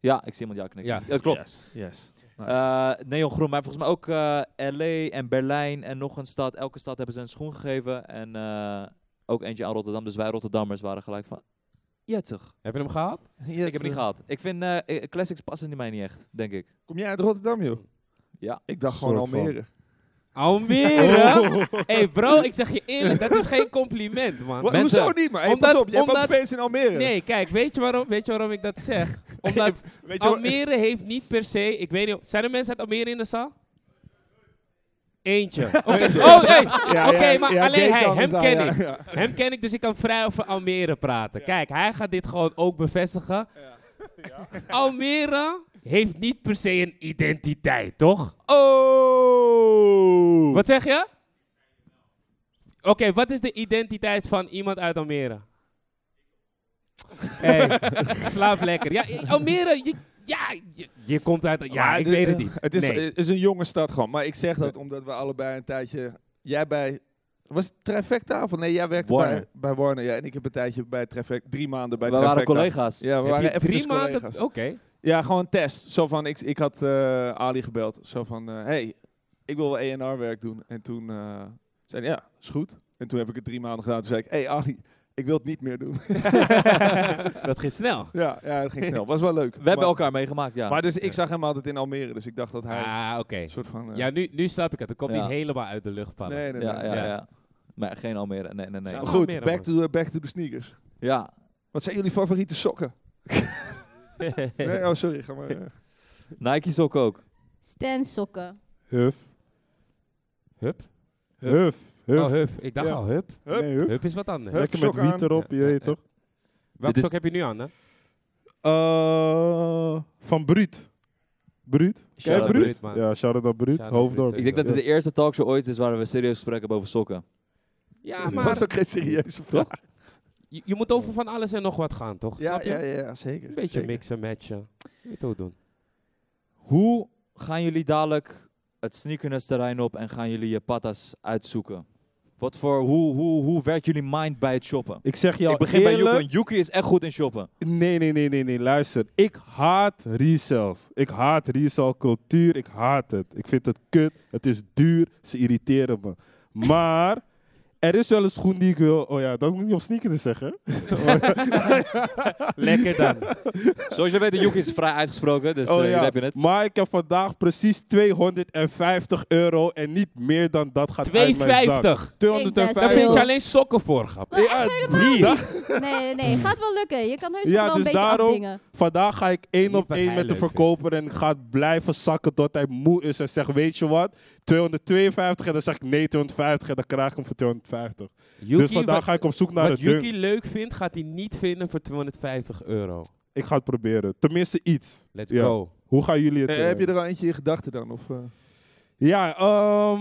A: Ja, ik zie iemand ja knikken.
D: Ja.
A: Ja, het klopt.
B: Yes. yes. Nice.
A: Eh neongroen, maar volgens mij ook eh, LA en Berlijn en nog een stad. Elke stad hebben ze een schoen gegeven. En eh, ook eentje aan Rotterdam. Dus wij Rotterdammers waren gelijk van. Jettig.
D: Heb je hem gehad?
A: Ik heb het niet gehad. Ik vind eh, eh, classics passen die mij niet echt, denk ik.
B: Kom jij uit Rotterdam, joh?
A: Ja.
B: Ik dacht gewoon
C: Soort van.
B: Almere.
D: Almere? hey bro, ik zeg je eerlijk, dat is geen compliment, man.
B: Wa-
A: mensen-
B: Hoezo niet, maar hey,
D: omdat-
B: pas op, je hebt
D: omdat-
B: ook fans in Almere.
D: Nee, kijk, weet je waarom, weet je waarom ik dat zeg? Omdat
B: Weet je wel-
D: Almere heeft niet per se, ik weet niet, of- zijn er mensen uit Almere in de zaal? Eentje. Oké, oh, hey. Oké, maar alleen hij, hem ken ik. Hem ken ik, dus ik kan vrij over Almere praten. Kijk, hij gaat dit gewoon ook bevestigen. Almere heeft niet per se een identiteit, toch?
C: Oh!
D: Wat zeg je? Oké, wat is de identiteit van iemand uit Almere? Hey, slaap lekker. Ja, eh, Almere, je, ja, je, je komt uit... Ja, ik weet het niet.
B: Het is, eh,
D: Nee.
B: het is een jonge stad gewoon. Maar ik zeg dat omdat we allebei een tijdje... Jij bij... Was het Trifecta? Of nee, jij werkte
A: Warner.
B: Bij, bij Warner. Ja, en ik heb een tijdje bij Trifecta... Drie maanden bij
A: wij
B: Trifecta.
A: waren collega's.
B: Ja, we
D: Heb je
B: waren eventjes
D: drie maanden...
A: Oh.
B: collega's.
D: Oké.
B: Ja, gewoon een test. Zo van, ik, ik had eh, Ali gebeld. Zo van, eh, hey, ik wil ENR werk doen. En toen eh, zei hij, ja, is goed. En toen heb ik het drie maanden gedaan. Toen zei ik, hey Ali, ik wil het niet meer doen.
D: dat ging snel.
B: ja, ja, het ging snel. Was wel leuk.
A: We hebben
B: maar,
A: elkaar meegemaakt, ja.
B: Maar dus ik zag hem altijd in Almere. Dus ik dacht dat hij
D: Ah, oké.
B: een soort van... eh,
D: Ja, nu, nu snap ik het. Het komt
A: Ja.
D: niet helemaal uit de lucht vallen.
B: nee, nee, nee.
A: ja, ja,
D: Ja.
A: ja, Maar geen Almere, nee, nee, nee.
D: Ja.
B: Maar goed,
D: Almere,
B: back, to, eh, back to the sneakers.
A: Ja,
B: Wat zijn jullie favoriete sokken? Nee, oh, sorry. Ga maar... eh.
A: Nike sok ook.
E: Stan sokken.
C: Huf.
D: Hup?
C: Huf. Huf.
D: Oh, hup. Ik dacht
C: Ja.
D: al hup.
C: Hup. Nee, huf.
D: Hup is wat anders.
B: Hup.
C: Lekker met
B: sok aan.
C: wiet erop, je
D: Ja,
C: weet
D: ja.
C: toch?
D: Welke
A: Dit
D: sok
A: is-
D: heb je nu aan, hè?
C: Eh, van Bruut. Bruut? Ken je
A: Shout-out
C: Bruut?
D: Bruut, man.
C: Ja, shout-out naar Bruut.
D: Shout-out
C: Hoofddorp.
D: Bruut,
A: Ik denk dat dit de eerste talkshow ooit is waar we serieus gesprekken hebben over sokken.
D: Ja,
B: Dat was
D: maar
B: ook geen serieuze vraag.
D: je, je moet over van alles en nog wat gaan, toch?
B: Ja,
D: Snap je?
B: ja, ja, zeker.
D: Een beetje
B: zeker.
D: mixen, matchen. Je Weet hoe we doen.
A: Hoe gaan jullie dadelijk het sneakerness terrein op en gaan jullie je patas uitzoeken? Wat voor, hoe, hoe, hoe werkt jullie mind bij het shoppen?
C: Ik zeg jou
A: ik begin bij Yuki,
C: eerlijk,
A: want Yuki is echt goed in shoppen.
C: Nee, nee, nee, nee, nee. Luister, ik haat resales. Ik haat resale cultuur. Ik haat het. Ik vind het kut. Het is duur. Ze irriteren me. Maar Er is wel een schoen die ik wil. Oh ja, dat moet ik niet op sneakers zeggen.
D: Lekker dan.
A: Zoals je weet, Yuki is vrij uitgesproken, dus
C: oh
A: eh,
C: ja.
A: hier heb je het.
C: Maar ik heb vandaag precies 250 euro en niet meer dan dat gaat uit mijn zak.
D: 250. Daar
C: 250.
D: vind je alleen sokken voor, grap.
E: Maar
C: Ja,
E: echt helemaal
C: niet.
E: niet. Nee, nee, nee. Gaat wel lukken. Je kan heus nog
C: Ja,
E: wel een
C: dus
E: beetje
C: daarom-
E: afdingen.
C: Vandaag ga ik één
D: Niet
C: op
D: wat
C: één
D: hij
C: met de
D: leuk vindt.
C: verkoper en ik ga het blijven zakken tot hij moe is en zegt, weet je wat, 252 en dan zeg ik nee 250 en dan krijg ik hem voor 250.
D: Yuki,
C: dus vandaag
D: wat-
C: ga ik op zoek naar
D: Wat
C: het ding.
D: Yuki leuk vindt, gaat hij niet vinden voor 250 euro.
C: Ik ga het proberen, tenminste iets.
D: Let's
C: Ja.
D: go.
C: Hoe gaan jullie het?
B: Eh,
C: eh,
B: heb je er al eentje in gedachten dan? Of, eh?
C: Ja, ehm,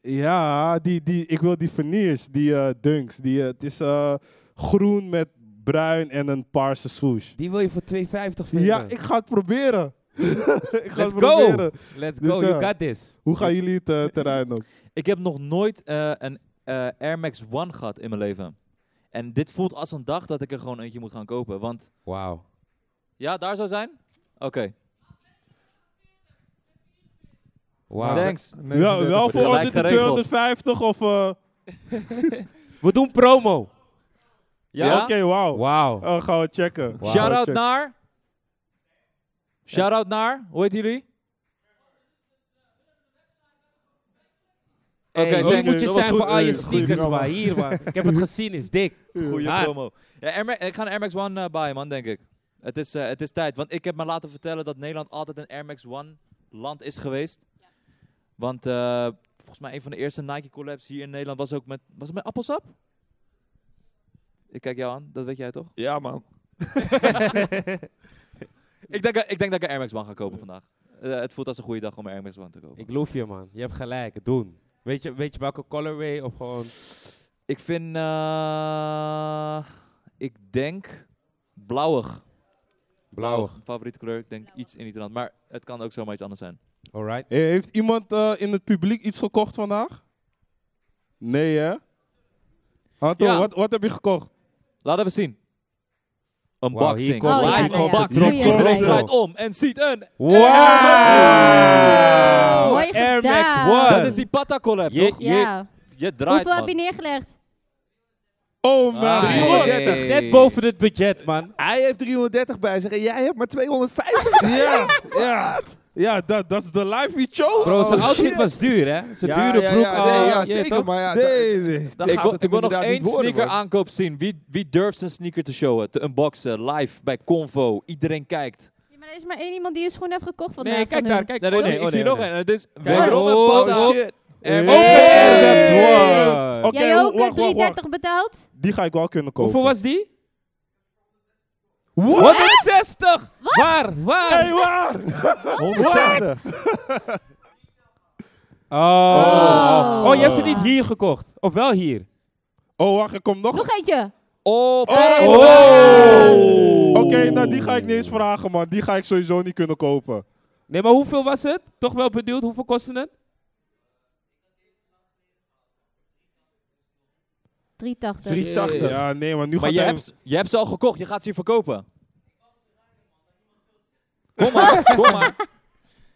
C: ja die, die, ik wil die veneers, die eh, dunks. Die, eh, het is eh, groen met bruin en een paarse swoosh.
D: Die wil je voor 250 vinden.
C: Ja, ik ga het proberen. ik ga
D: Let's
C: het
D: go.
C: proberen.
D: Let's
C: Dus,
D: go, you
C: eh,
D: got this.
C: Hoe gaan jullie het eh, terrein op?
A: Ik heb nog nooit eh, een eh, Air Max One gehad in mijn leven. En dit voelt als een dag dat ik er gewoon eentje moet gaan kopen. Want,
D: Wauw.
A: ja, daar zou zijn? Oké,
D: Wauw.
A: thanks.
C: Wel, wel
A: wordt
C: voor
A: gelijk
C: de
A: geregeld.
C: 250 of... eh,
D: We doen promo.
A: Ja?
C: Oké, wauw.
D: Wauw.
C: Eh, gaan we
D: Wauw.
C: checken. Gaan we
A: Shout-out
C: checken.
A: naar... Shout-out naar, hoe heet jullie? Oké,
D: Hey,
A: thanks.
D: hier moet je
A: Dat was
D: zijn
A: goed.
D: voor al je
C: eh, goeie
D: sneakers,
C: promo.
D: waar. Hier, waar. Ik heb het gezien, is dik.
A: Goeie
D: Ah.
A: promo. Ja, Air Ma- ik ga een Air Max One eh buyen, man, denk ik. Het is, eh, het is tijd. Want ik heb me laten vertellen dat Nederland altijd een Air Max One land is geweest. Want eh, volgens mij een van de eerste Nike collabs hier in Nederland was ook met... Was het met appelsap? Ik kijk jou aan, dat weet jij toch?
B: Ja, man.
A: Ik denk, eh, ik denk dat ik een Air Max One ga kopen vandaag. Eh, het voelt als een goede dag om een Air Max One te kopen.
D: Ik loof je, man. Je hebt gelijk. Doen. Weet je, weet je welke colorway of gewoon...
A: Ik vind... eh, ik denk... Blauwig.
D: Blauw.
A: Favoriete kleur. Ik denk iets in Nederland. Maar het kan ook zomaar iets anders zijn.
D: Alright.
C: Eh, Heeft iemand eh, in het publiek iets gekocht vandaag? Nee, hè? Anton,
A: Ja.
C: wat, wat heb je gekocht?
A: Laten we zien.
D: Wauw,
A: Unboxing.
D: hier komt
E: Oh, ja,
A: Live
E: ja, ja.
A: unboxing.
E: Goeie
A: Iedereen
E: gelijk.
A: draait om en ziet een.
D: Wauw!
E: Mooi
D: Oh, Air Max
E: gedaan.
D: One.
A: Dat is die Pata collab,
D: Je-
A: toch?
E: Ja.
A: Je, je draait,
E: Hoeveel
A: man.
E: heb je neergelegd?
C: Oh mijn
A: Ah,
C: god!
A: hey.
D: Dat is net boven het budget, man.
B: Hij heeft 330 bij zich en jij hebt maar 250.
C: Ja, ja. Ja, dat, dat is de life we chose.
D: Bro, zijn
B: Oh,
D: outfit
B: shit.
D: was duur, hè? Zijn dure broek al.
B: nee,
D: je
B: ja,
D: weet
B: zeker.
D: toch?
B: Maar
A: Ah,
B: ja, da-
C: Nee, nee.
B: dan
A: Ik
B: gaat
A: wil,
B: het
A: ik wil
B: hem
A: nog
B: inderdaad
A: één
B: niet worden,
A: sneaker
B: man.
A: aankoop zien. Wie, wie durft zijn sneaker te showen, te unboxen, live bij Convo? Iedereen kijkt.
E: Ja, maar er is maar één iemand die een schoen heeft gekocht vandaag.
D: Nee, kijk
E: van
D: daar,
E: hun.
D: kijk.
A: Nee, nee, nee. ik
D: oh,
A: zie
D: oh,
A: nog
D: nee.
A: één. Het is
D: Kijk,
A: wederom een
D: oh,
A: Pata.
D: shit. Oh.
A: Air Max
C: Hey.
A: One.
C: Air Max
D: One.
C: Oké,
E: Jij ook
C: wacht,
E: eh,
C: wacht,
E: 330 betaald?
C: Die ga ik wel kunnen kopen.
D: Hoeveel was die?
C: What?
D: 160! Waar? Waar?
C: Hey, waar?
B: 160.
D: Oh.
E: Oh.
D: oh, je hebt ze niet hier gekocht. Of wel hier.
C: Oh, wacht, er komt nog.
E: Nog eentje.
A: Op.
C: Oh.
D: Oh.
C: Oké, nou die ga ik niet eens vragen, man. Die ga ik sowieso niet kunnen kopen.
D: Nee, maar hoeveel was het? Toch wel bedoeld, hoeveel kostte het?
E: 380.
B: 380.
C: Ja, nee, maar nu
A: Maar
C: gaat
A: je
C: hij...
A: hebt, je hebt ze al gekocht. Je gaat ze hier verkopen. Kom maar, kom maar.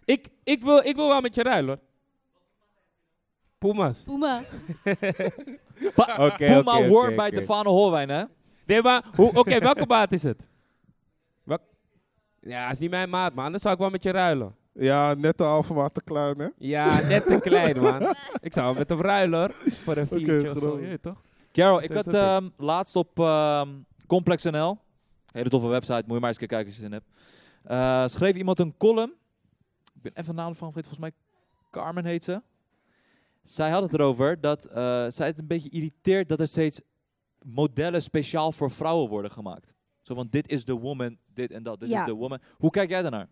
D: Ik, ik, wil, ik wil wel met je ruilen, hoor. Pumas.
E: Puma.
A: Pa-
D: Oké,
A: Puma
D: oké, oké,
A: Worm bij
D: oké.
A: Defano Holwijn, hè?
D: Nee, maar hoe- oké, welke maat is het? Welk- Ja, is niet mijn maat, man. Anders zou ik wel met je ruilen.
C: Ja, net de halve maat te klein, hè?
D: Ja, net te klein, man. Ik zou wel met hem ruilen, hoor. Voor een viertje of zo,
C: geweldig.
D: je weet toch?
A: Carol,
D: Zo
A: ik
D: is
A: had
D: dat ook.
A: ehm, laatst op ehm, Complex.nl, hele toffe website, moet je maar eens een keer kijken als je zin hebt, eh, schreef iemand een column. Ik ben even de naam van vergeten, volgens mij Carmen heet ze. Zij had het erover dat eh, zij het een beetje irriteert dat er steeds modellen speciaal voor vrouwen worden gemaakt. Zo van, dit is de woman, dit en dat, dit
E: Ja.
A: is de woman. Hoe kijk jij daarnaar?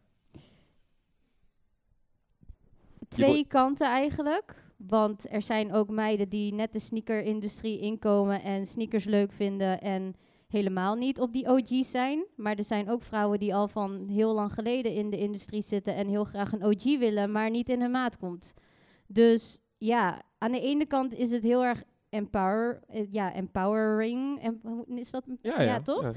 E: Twee kanten eigenlijk. Want er zijn ook meiden die net de sneakerindustrie inkomen en sneakers leuk vinden en helemaal niet op die OG's zijn. Maar er zijn ook vrouwen die al van heel lang geleden in de industrie zitten en heel graag een OG willen, maar niet in hun maat komt. Dus ja, aan de ene kant is het heel erg empower, eh, ja, empowering. Em- hoe- is dat?
D: Ja, ja.
E: toch?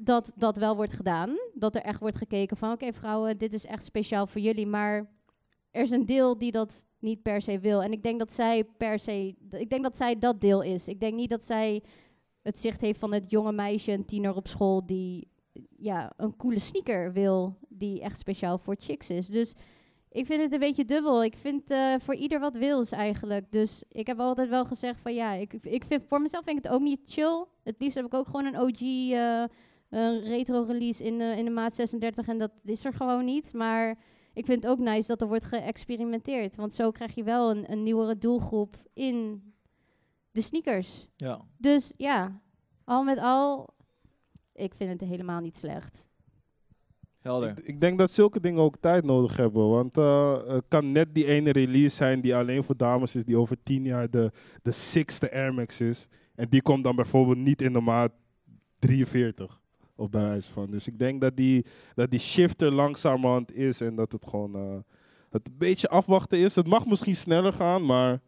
E: dat dat wel wordt gedaan. Dat er echt wordt gekeken van, oké vrouwen, dit is echt speciaal voor jullie. Maar er is een deel die dat niet per se wil. En ik denk dat zij per se, d- ik denk dat zij dat deel is. Ik denk niet dat zij het zicht heeft van het jonge meisje, een tiener op school, die ja, een coole sneaker wil, die echt speciaal voor chicks is. Dus ik vind het een beetje dubbel. Ik vind eh, voor ieder wat wils eigenlijk. Dus ik heb altijd wel gezegd van ja, ik, ik vind, voor mezelf vind ik het ook niet chill. Het liefst heb ik ook gewoon een OG eh, een retro release in, de- in de maat 36 en dat is er gewoon niet. Maar ik vind het ook nice dat er wordt geëxperimenteerd. Want zo krijg je wel een, een nieuwere doelgroep in de sneakers.
A: Ja.
E: Dus ja, al met al, ik vind het helemaal niet slecht.
A: Helder.
C: Ik, ik denk dat zulke dingen ook tijd nodig hebben. Want eh, het kan net die ene release zijn die alleen voor dames is, die over tien jaar de, de sixte Air Max is. En die komt dan bijvoorbeeld niet in de maat 43. Of bij wijze van. Dus ik denk dat die, dat die shift er langzamerhand is en dat het gewoon eh, het een beetje afwachten is. Het mag misschien sneller gaan, maar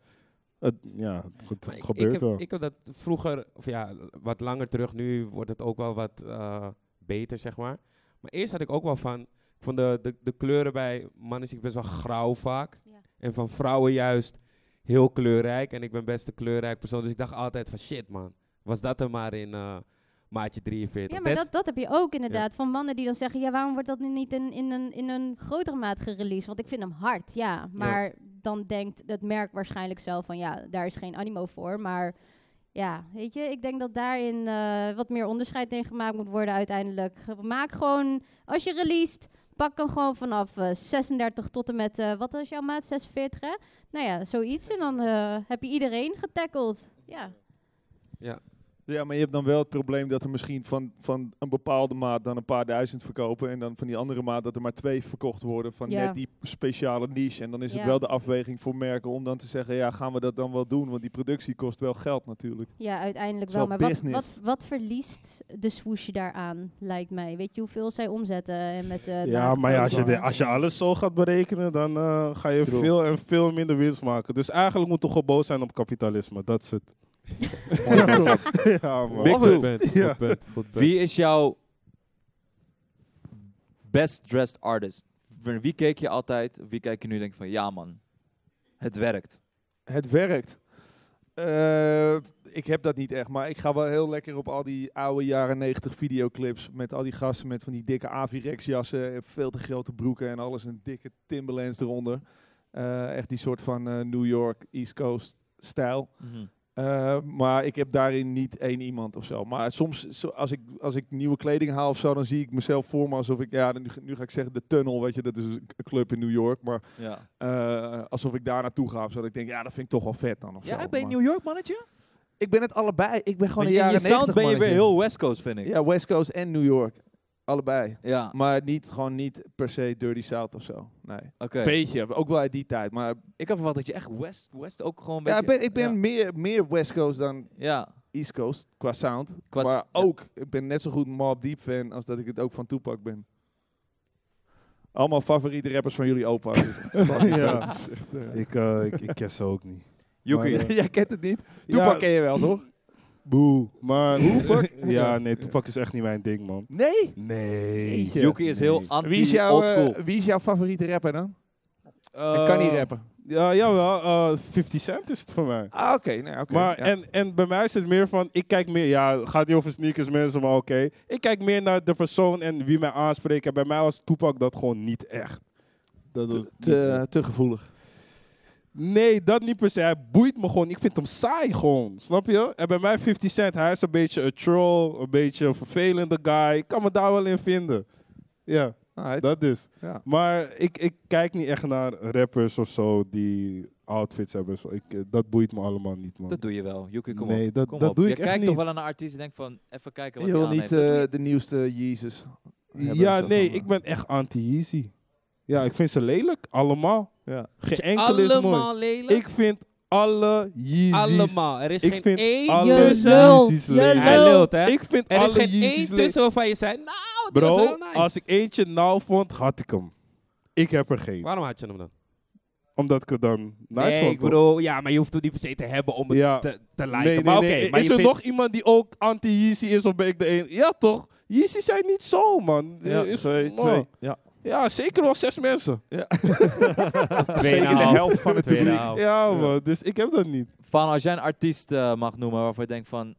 C: het, ja, het
D: Maar ik-
C: gebeurt
D: ik heb,
C: wel.
D: Ik heb dat vroeger, of ja, wat langer terug. Nu wordt het ook wel wat eh, beter, zeg maar. Maar eerst had ik ook wel van... Ik vond de, de, de kleuren bij mannen zie ik best wel grauw vaak.
E: Ja.
D: En van vrouwen juist heel kleurrijk. En ik ben best een kleurrijk persoon. Dus ik dacht altijd van shit, man. Was dat er maar in eh, maatje 43.
E: Ja, maar
D: Des-
E: dat, dat heb je ook inderdaad. Van mannen die dan zeggen, ja, waarom wordt dat nu niet in, in, een, in een grotere maat gereleased? Want ik vind hem hard, ja. Maar dan denkt het merk waarschijnlijk zelf van, ja, daar is geen animo voor. Maar ja, weet je, ik denk dat daarin eh, wat meer onderscheid in gemaakt moet worden uiteindelijk. Ge- Maak gewoon, als je released, pak hem gewoon vanaf eh, 36 tot en met, eh, wat was jouw maat, 46 hè? Nou ja, zoiets. En dan eh, heb je iedereen getackeld. Ja,
B: Ja, maar je hebt dan wel het probleem dat er misschien van, van een bepaalde maat dan een paar duizend verkopen. En dan van die andere maat dat er maar twee verkocht worden van
E: Ja.
B: net die speciale niche. En dan is
E: Ja.
B: het wel de afweging voor merken om dan te zeggen, ja, gaan we dat dan wel doen? Want die productie kost wel geld natuurlijk.
E: Ja, uiteindelijk
B: is
E: wel.
B: wel
E: Maar wat,
B: business.
E: wat, wat verliest de swoosh daaraan, lijkt mij? Weet je hoeveel zij omzetten en met eh,
C: Ja,
E: naaktfoto's
C: maar ja, als, je
E: maken?
C: de- als je alles zo gaat berekenen, dan eh, ga je
B: True.
C: veel en veel minder winst maken. Dus eigenlijk moet toch gewoon boos zijn op kapitalisme. Dat is het. ja, man.
A: Big
D: Goed
A: move.
D: punt, goed
C: Ja.
D: punt, goed punt.
A: Wie is jouw best dressed artist? Naar Wie keek je altijd? Wie kijk je nu en denk je van ja man, het werkt.
B: Het werkt. Eh, ik heb dat niet echt, maar ik ga wel heel lekker op al die oude jaren 90 videoclips met al die gasten met van die dikke Avirex jassen en veel te grote broeken en alles en dikke Timberlands eronder. Eh, echt die soort van eh, New York East Coast stijl.
A: Mhm.
B: Eh, maar ik heb daarin niet één iemand of zo. Maar soms, zo- als, ik, als ik nieuwe kleding haal of zo, dan zie ik mezelf voor me alsof ik, ja, nu, ga- nu ga ik zeggen de Tunnel, weet je, dat is een k- club in New York. Maar
A: Ja.
B: eh, alsof ik daar naartoe ga of zo, dat ik denk, ja, dat vind ik toch wel vet dan of zo.
A: ben je
B: Maar
A: New York mannetje?
B: ik ben het allebei. Ik ben gewoon
A: in
B: een jaren
A: je sound
B: 90
A: ben je weer
B: mannetje.
A: heel West Coast vind ik.
B: Ja, West Coast en New York. Allebei.
A: Ja,
B: Maar niet, gewoon niet per se Dirty South of zo. Nee.
A: oké.
B: Beetje, ook wel uit die tijd. Maar
A: Ik had verwacht dat je echt West, West ook gewoon een
B: ja, ik
A: beetje...
B: ben, ik ben Meer, meer West Coast dan
A: Ja,
B: East Coast qua sound.
A: Qua
B: maar
A: s- ja.
B: ook, ik ben net zo goed Mob Deep fan als dat ik het ook van Tupac ben. Allemaal favoriete rappers van jullie opa. dus het is fucking
C: Ja.
B: vet. Het is echt, eh,
C: Ik, eh, ik, ik ken ze ook niet.
A: Yuki.
C: Maar, eh,
B: Jij kent het niet?
C: ja,
B: Tupac ken je wel, toch?
C: Boe. Maar
B: Tupac?
C: ja, nee, Toepak is echt niet mijn ding, man.
B: Nee?
C: Nee.
B: Jeetje.
A: Yuki is heel
C: Nee.
B: Wie is, jouw, eh,
A: anti-oldschool.
B: wie is jouw favoriete rapper dan? ik kan niet
C: Eh,
B: rappen.
C: Ja, jawel. eh, 50 Cent is het voor mij.
B: Ah, oké. nee, oké,
C: Maar,
B: ja.
C: en, en bij mij is het meer van, ik kijk meer, ja, het gaat niet over sneakers mensen, maar oké. Ik kijk meer naar de persoon en wie mij aanspreekt. En bij mij was Toepak dat gewoon niet echt. Dat was
B: te, te, te gevoelig.
C: Nee, dat niet per se. Hij boeit me gewoon. Ik vind hem saai gewoon. Snap je? En bij mij 50 Cent, hij is een beetje een troll. Een beetje een vervelende guy. Ik kan me daar wel in vinden. Ja,
B: Alright,
C: dat dus.
B: ja.
C: Maar ik, ik kijk niet echt naar rappers of zo die outfits hebben. Zo. Ik, eh, dat boeit me allemaal niet, man.
A: Dat doe je wel. Yuki, kom
C: nee,
A: op.
C: dat,
A: Kom
C: dat
A: op.
C: doe
A: je
C: ik echt
A: kijkt
C: niet.
A: toch wel naar een artiest en denkt van even kijken wat
B: Je
A: hij
B: wil
A: aan
B: niet
A: heeft.
B: eh, de nieuwste Jezus. hebben,
C: ja,
B: zo
C: nee,
B: van,
C: ik ben echt anti-Yeezy. Ja, ik vind ze lelijk. Allemaal.
B: Ja.
C: Geen enkele is mooi.
D: Allemaal lelijk.
C: Ik vind alle Yeezys
D: Allemaal. Er is
C: Ik
D: geen
C: vind
D: één
C: alle
E: Je
C: Jezus
D: tussen.
E: lult,
C: is
E: je
C: leuk.
D: Hij
E: lult.
D: lult, hè?
C: Ik vind
D: Er is
C: alle
D: geen
C: Yeezys
D: één
C: lelijk.
D: tussen waarvan je zei, nou, dat is
C: Bro,
D: wel nice.
C: als ik eentje nauw vond, had ik hem. Ik heb er geen.
D: Waarom had je hem dan?
C: Omdat ik het dan nice
D: nee,
C: vond.
D: ik
C: toch?
D: bedoel, ja, maar je hoeft het niet per se te hebben om het
C: Ja.
D: te, te liken.
C: nee, nee,
D: maar oké,
C: nee.
D: maar
C: Is
D: je
C: er
D: vindt-
C: nog iemand die ook anti-Yeezy is of ben ik de een? Ja, toch? Yeezy zijn niet zo, man.
B: Ja,
C: is,
B: twee,
C: oh.
B: twee. Ja.
C: Ja, zeker wel zes mensen.
F: Tweeënhalf.
B: Zeker de helft van het publiek.
D: Oh.
F: Tweeënhalf.
C: Ja, man. Dus ik heb dat niet.
A: Van, als jij een artiest eh, mag noemen waarvan je denkt van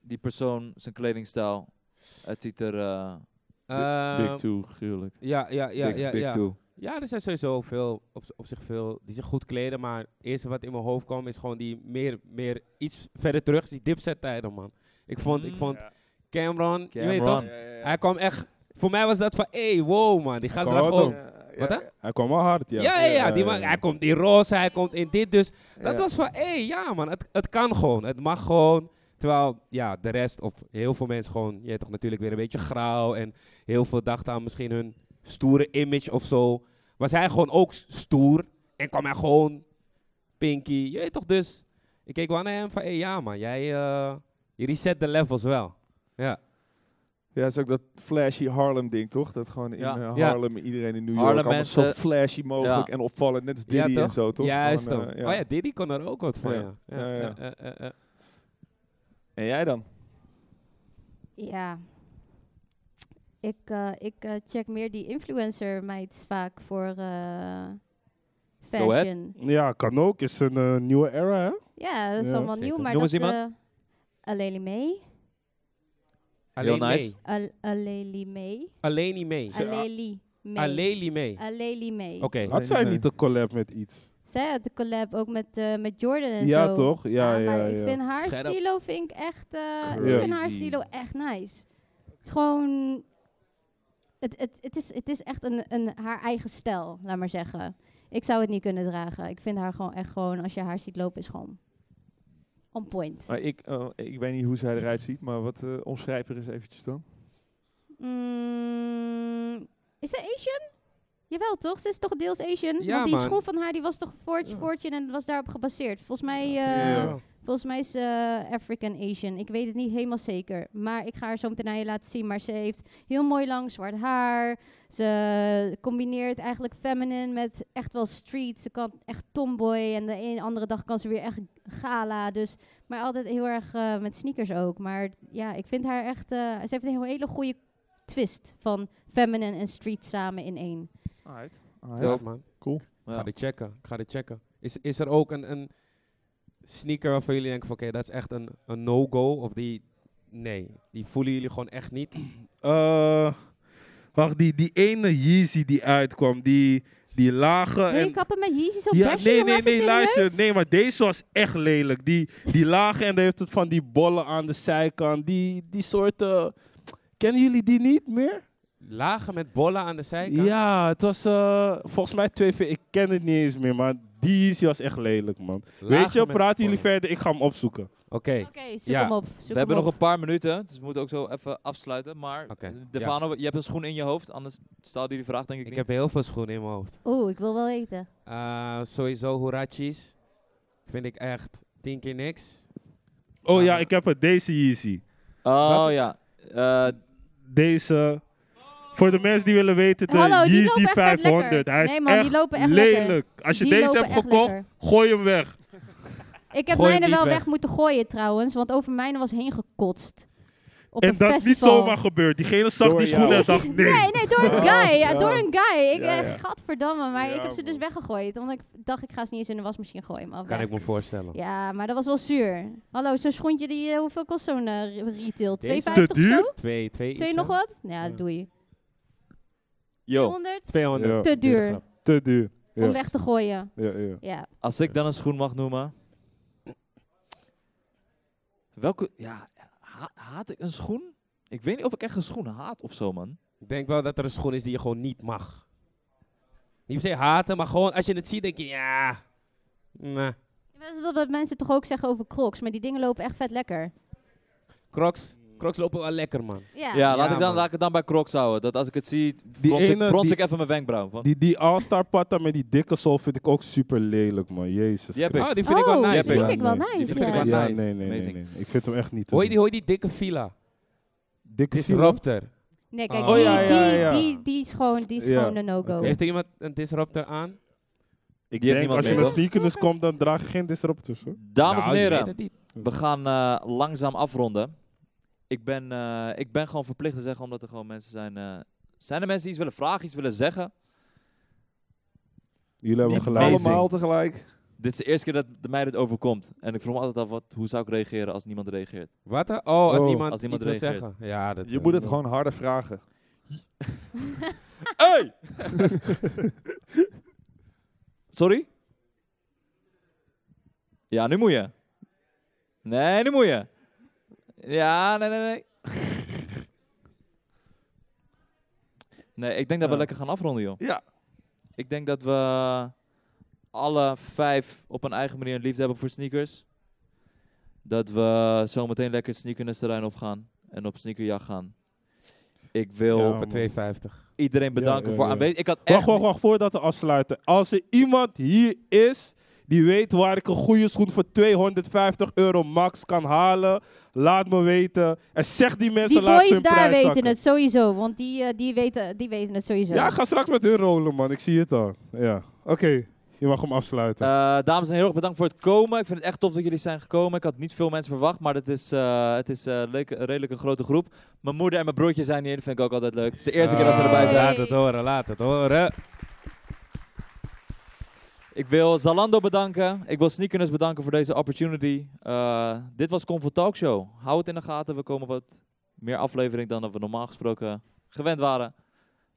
A: die persoon, zijn kledingstijl, het ziet er eh,
D: Ehm,
C: Two, gruwelijk.
D: Ja, ja, ja,
A: big,
D: ja.
A: big
D: ja.
A: toe.
D: Ja, er zijn sowieso veel, op, z- op zich veel, die zich goed kleden. Maar het eerste wat in mijn hoofd kwam is gewoon die meer, meer iets verder terug. is Die dipset tijden, man. Ik vond, ik
A: Mm.
D: vond Cameron, je weet
A: Cameron.
D: toch? Hij kwam echt, voor mij was dat van, hey, wow man, die gaat er gewoon. Wat hè?
C: Hij kwam wel hard, ja. Eh,
D: Ja, ja, ja, die man, hij komt in roze, hij komt in dit. Dus dat
B: Ja.
D: was van, hé, hey, ja man, het, het kan gewoon, het mag gewoon. Terwijl, ja, de rest, of heel veel mensen gewoon, je weet toch natuurlijk weer een beetje grauw. En heel veel dachten aan misschien hun stoere image of zo. Was hij gewoon ook s- stoer en kwam hij gewoon pinky. Je weet toch dus, ik keek wel naar hem van, hé, hey, ja man, jij eh, je reset de levels wel. Ja,
B: Ja, dat is ook dat flashy Harlem ding, toch? Dat gewoon in
A: Ja.
B: eh,
D: Ja.
B: Harlem iedereen in New York
A: Harlem
B: allemaal zo
A: mensen-
B: flashy mogelijk
A: Ja.
B: en opvallend. Net als
D: Ja,
B: Diddy en
D: toch?
B: zo, toch?
D: juist
B: Gewoon,
D: dan.
B: eh, ja.
D: Oh ja, Diddy kon er ook wat van,
B: Ja.
D: ja.
B: Ja, ja.
D: eh, eh, eh, eh.
B: En jij dan?
E: Ja. Ik, eh, ik eh, check meer die influencer meids vaak voor eh,
A: Go ahead.
E: fashion.
C: Ja, kan ook. Is een eh, nieuwe era, hè?
E: Ja, dat is
C: Ja,
E: allemaal nieuw,
A: zeker.
E: maar
A: Noem
E: dat...
A: eens
E: eh, Aleli May.
A: Heel
D: Alleen
A: nice.
D: mee.
E: Al- Aleli May.
D: Alleen niet mee.
E: Aleli May.
D: Aleli mee.
E: Aleli May.
D: Oké.
C: Had zij
B: nee.
C: niet een collab met iets?
E: Zij had de collab ook met, eh, met Jordan en
C: ja,
E: zo.
C: toch? Ja,
E: Ah,
C: ja,
E: maar
C: ja.
E: ik vind haar
A: Scherp.
E: stilo vind ik echt... eh,
B: Crazy.
E: Ik vind haar stilo echt nice. Het is gewoon... Het, het, het, is, het is echt een, een, haar eigen stijl, laat maar zeggen. Ik zou het niet kunnen dragen. Ik vind haar gewoon echt gewoon... Als je haar ziet lopen, is gewoon... On point.
B: Maar ik, eh, ik weet niet hoe zij eruit ziet, maar wat eh omschrijf er eens eventjes dan.
E: Mm, is ze Asian? Jawel, toch? Ze is toch deels Asian?
D: Ja,
E: Want die
D: man.
E: schoen van haar die was toch Fortune Fortune en was daarop gebaseerd. Volgens mij, eh,
C: Ja.
E: volgens mij is ze eh, African Asian. Ik weet het niet helemaal zeker. Maar ik ga haar zo meteen aan je laten zien. Maar ze heeft heel mooi lang zwart haar. Ze combineert eigenlijk feminine met echt wel street. Ze kan echt tomboy. En de een andere dag kan ze weer echt gala. Dus, maar altijd heel erg eh, met sneakers ook. Maar ja, ik vind haar echt... eh, ze heeft een heel- hele goede twist van feminine en street samen in één.
B: Alright.
D: Dope, man.
B: Cool.
D: Ik
A: Ja.
D: ga dit checken. Ik ga dit checken. Is, is er ook een, een sneaker waarvan jullie denken van oké, dat is echt een, een no-go? Of die, nee, die voelen jullie gewoon echt niet?
C: Eh, wacht, die, die ene Yeezy die uitkwam, die, die lage...
E: Wil je
C: en,
E: kappen met Yeezy zo
C: ja,
E: bashen,
C: nee,
E: jongen?
C: nee,
E: Even
C: nee,
E: serieus?
C: luister. Nee, maar deze was echt lelijk. Die, die lage en dan heeft het van die bollen aan de zijkant. Die, die soorten... Kennen jullie die niet meer?
D: Lagen met bollen aan de zijkant?
C: Ja, het was eh, volgens mij 2V. Ik ken het niet eens meer, maar die Yeezy was echt lelijk, man.
D: Lagen
C: Weet je,
D: met
C: praten jullie
D: bollen.
C: verder. Ik ga hem opzoeken.
D: Oké.
E: Oké, zoek
D: Ja.
E: hem op. Zoek
A: We hebben
E: hem
A: nog
E: op.
A: een paar minuten, dus we moeten ook zo even afsluiten. Maar
D: Oké,
A: eh, Devano, je hebt een schoen in je hoofd, anders stelde je die vraag denk ik,
D: Ik
A: niet.
D: heb heel veel schoenen in mijn hoofd.
E: Oeh, ik wil wel weten.
D: Eh, sowieso Horachis. Vind ik echt tien keer niks.
C: Oh
D: Ja.
C: ja, ik heb het. Deze Yeezy.
A: Oh
C: Wat?
A: ja, Eh,
C: Deze. Voor de mensen die willen weten, de
E: Hallo, die lopen
C: Yeezy
E: echt vet
C: 500.
E: lekker.
C: Hij is
E: Nee, man, die
C: echt,
E: lopen echt
C: lelijk.
E: lekker.
C: Als je
E: Die
C: deze
E: lopen
C: hebt
E: echt
C: gekocht,
E: lekker.
C: gooi hem weg.
E: Ik heb
C: Gooi
E: mijne
C: hem niet
E: wel
C: weg.
E: weg moeten gooien trouwens, want over mijne was heen gekotst. Op
C: en
E: een
C: dat is niet
E: festival.
C: zomaar gebeurd. Diegene zag
B: Door
C: die
B: jou.
C: schoenen en dacht, nee.
E: Nee, nee, door een
B: Ja,
E: guy. Ja,
B: ja.
E: door een guy. Ik,
C: Ja,
E: ja,
C: ja.
E: Gadverdamme, maar
C: Ja,
E: ik heb ze dus
C: man.
E: weggegooid. Omdat ik dacht, ik ga ze niet eens in de wasmachine gooien. Maar
D: Kan
E: weg.
D: ik me voorstellen.
E: Ja, maar dat was wel zuur. Hallo, zo'n schoentje, die, eh, hoeveel kost zo'n eh, re- retail? 2,50
D: Deze?
E: of
C: Te duur?
E: zo?
D: Twee, twee.
E: Twee
D: iets,
E: nog
D: hè?
E: wat? Ja,
D: Ja.
E: doei.
A: yo,
E: 100?
D: 200.
C: Ja.
E: Te
D: Dure
E: duur.
D: grap.
C: Te duur. Ja.
E: Om weg te gooien.
C: Ja, ja.
E: Ja.
A: als ik dan een schoen mag noemen. Welke, ja, ha- haat ik een schoen? Ik weet niet of ik echt een schoen haat of zo, man.
D: Ik denk wel dat er een schoen is die je gewoon niet mag. Niet per se haten, maar gewoon als je het ziet, denk je ja. Nah.
E: Dat is dat mensen toch ook zeggen over crocs, maar die dingen lopen echt vet lekker.
D: Crocs, Crocs lopen wel lekker, man.
A: Ja,
E: ja.
A: laat,
D: Ja,
A: ik dan,
D: man.
A: laat ik het dan bij Crocs houden. Dat als ik het zie,
C: Die
A: frons, ik,
C: ene,
A: frons
C: die-
A: ik even mijn wenkbrauw. Want
C: Die, die All-Star patta met die dikke sol vind ik ook super lelijk, man. Jezus.
A: Die heb
C: Christus.
A: ik.
D: Oh, die vind ik wel
E: Oh,
D: nice.
A: die
D: man.
E: vind ik wel nice,
D: Die vind ik
E: ja.
D: wel
C: Ja,
D: nice.
C: nee, nee, nee,
A: Amazing.
C: nee. Ik vind hem echt niet. te
D: Hoor je
C: doen.
D: die, hoor je die dikke fila?
C: dikke file?
D: Disruptor.
E: Nee, kijk,
D: Oh,
E: die,
D: ja,
C: ja,
E: die,
C: ja.
E: Die, die is gewoon, die is
C: Ja.
E: gewoon een
A: Oh.
E: no-go.
C: Oké.
D: Heeft er iemand een disruptor aan?
C: Ik
A: Die heeft
C: denk
A: niemand
C: als je
E: mee,
C: naar
E: toch?
C: sneakers komt, dan draag je geen disruptors. Hoor.
A: Dames
D: Nou,
A: en
D: je
A: heren,
D: weet het niet.
A: we gaan eh, langzaam afronden. Ik ben, eh, ik ben gewoon verplicht te zeggen, omdat er gewoon mensen zijn eh, Zijn er mensen die iets willen vragen, iets willen zeggen?
C: Jullie hebben gelijk.
A: Amazing.
B: Allemaal tegelijk.
A: Dit is de eerste keer dat de- mij dit overkomt. En ik vroeg me altijd af, wat, hoe zou ik reageren als niemand reageert?
D: Wat? dan? Oh, als
B: Oh.
D: iemand,
A: Als iemand
D: iets wil
A: reageert.
D: zeggen. Ja, dat eh,
B: Je moet het gewoon harder vragen.
A: Hey! Sorry? Ja, nu moet je. Nee, nu moet je. Ja, nee, nee, nee. Nee, ik denk dat we
B: Ja.
A: lekker gaan afronden, joh.
B: Ja.
A: Ik denk dat we alle vijf op een eigen manier een liefde hebben voor sneakers. Dat we zo meteen lekker het sneakernesterrein opgaan en op sneakerjacht gaan. Ik wil
C: Ja,
D: Voor
C: man.
D: 2,50.
A: iedereen bedanken
C: Ja, ja,
A: voor
C: ja.
A: aanwezigheid. Ik had echt
C: Wacht, wacht, wacht, voordat we afsluiten. Als er iemand hier is die weet waar ik een goede schoen voor 250 euro max kan halen, laat me weten. En zeg die mensen,
E: Die
C: laat ze
E: boys
C: hun
E: daar
C: prijs
E: weten
C: zakken.
E: het sowieso, want die, eh, die, weten, die weten het sowieso.
C: Ja, ik ga straks met hun rollen, man. Ik zie het al. Ja, oké. Je mag hem afsluiten.
A: Eh, dames en heren, heel erg bedankt voor het komen. Ik vind het echt tof dat jullie zijn gekomen. Ik had niet veel mensen verwacht, maar het is, eh, het is eh, leek- redelijk een grote groep. Mijn moeder en mijn broertje zijn hier, dat vind ik ook altijd leuk. Het is de eerste keer dat ze erbij zijn.
D: Laat het horen, laat het horen.
A: Ik wil Zalando bedanken. Ik wil Sneakerners bedanken voor deze opportunity. Eh, dit was Comfort Talk Show. Hou het in de gaten. We komen wat meer aflevering dan dat we normaal gesproken gewend waren.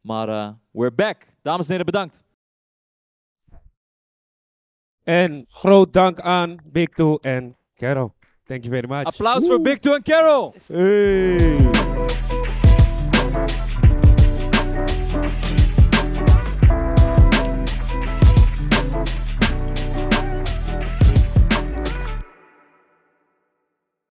A: Maar eh, we're back. Dames en heren, bedankt.
D: En groot dank aan Big Two en Carol. Thank you very much.
A: Applaus voor Big Two en Carol.
C: Hey.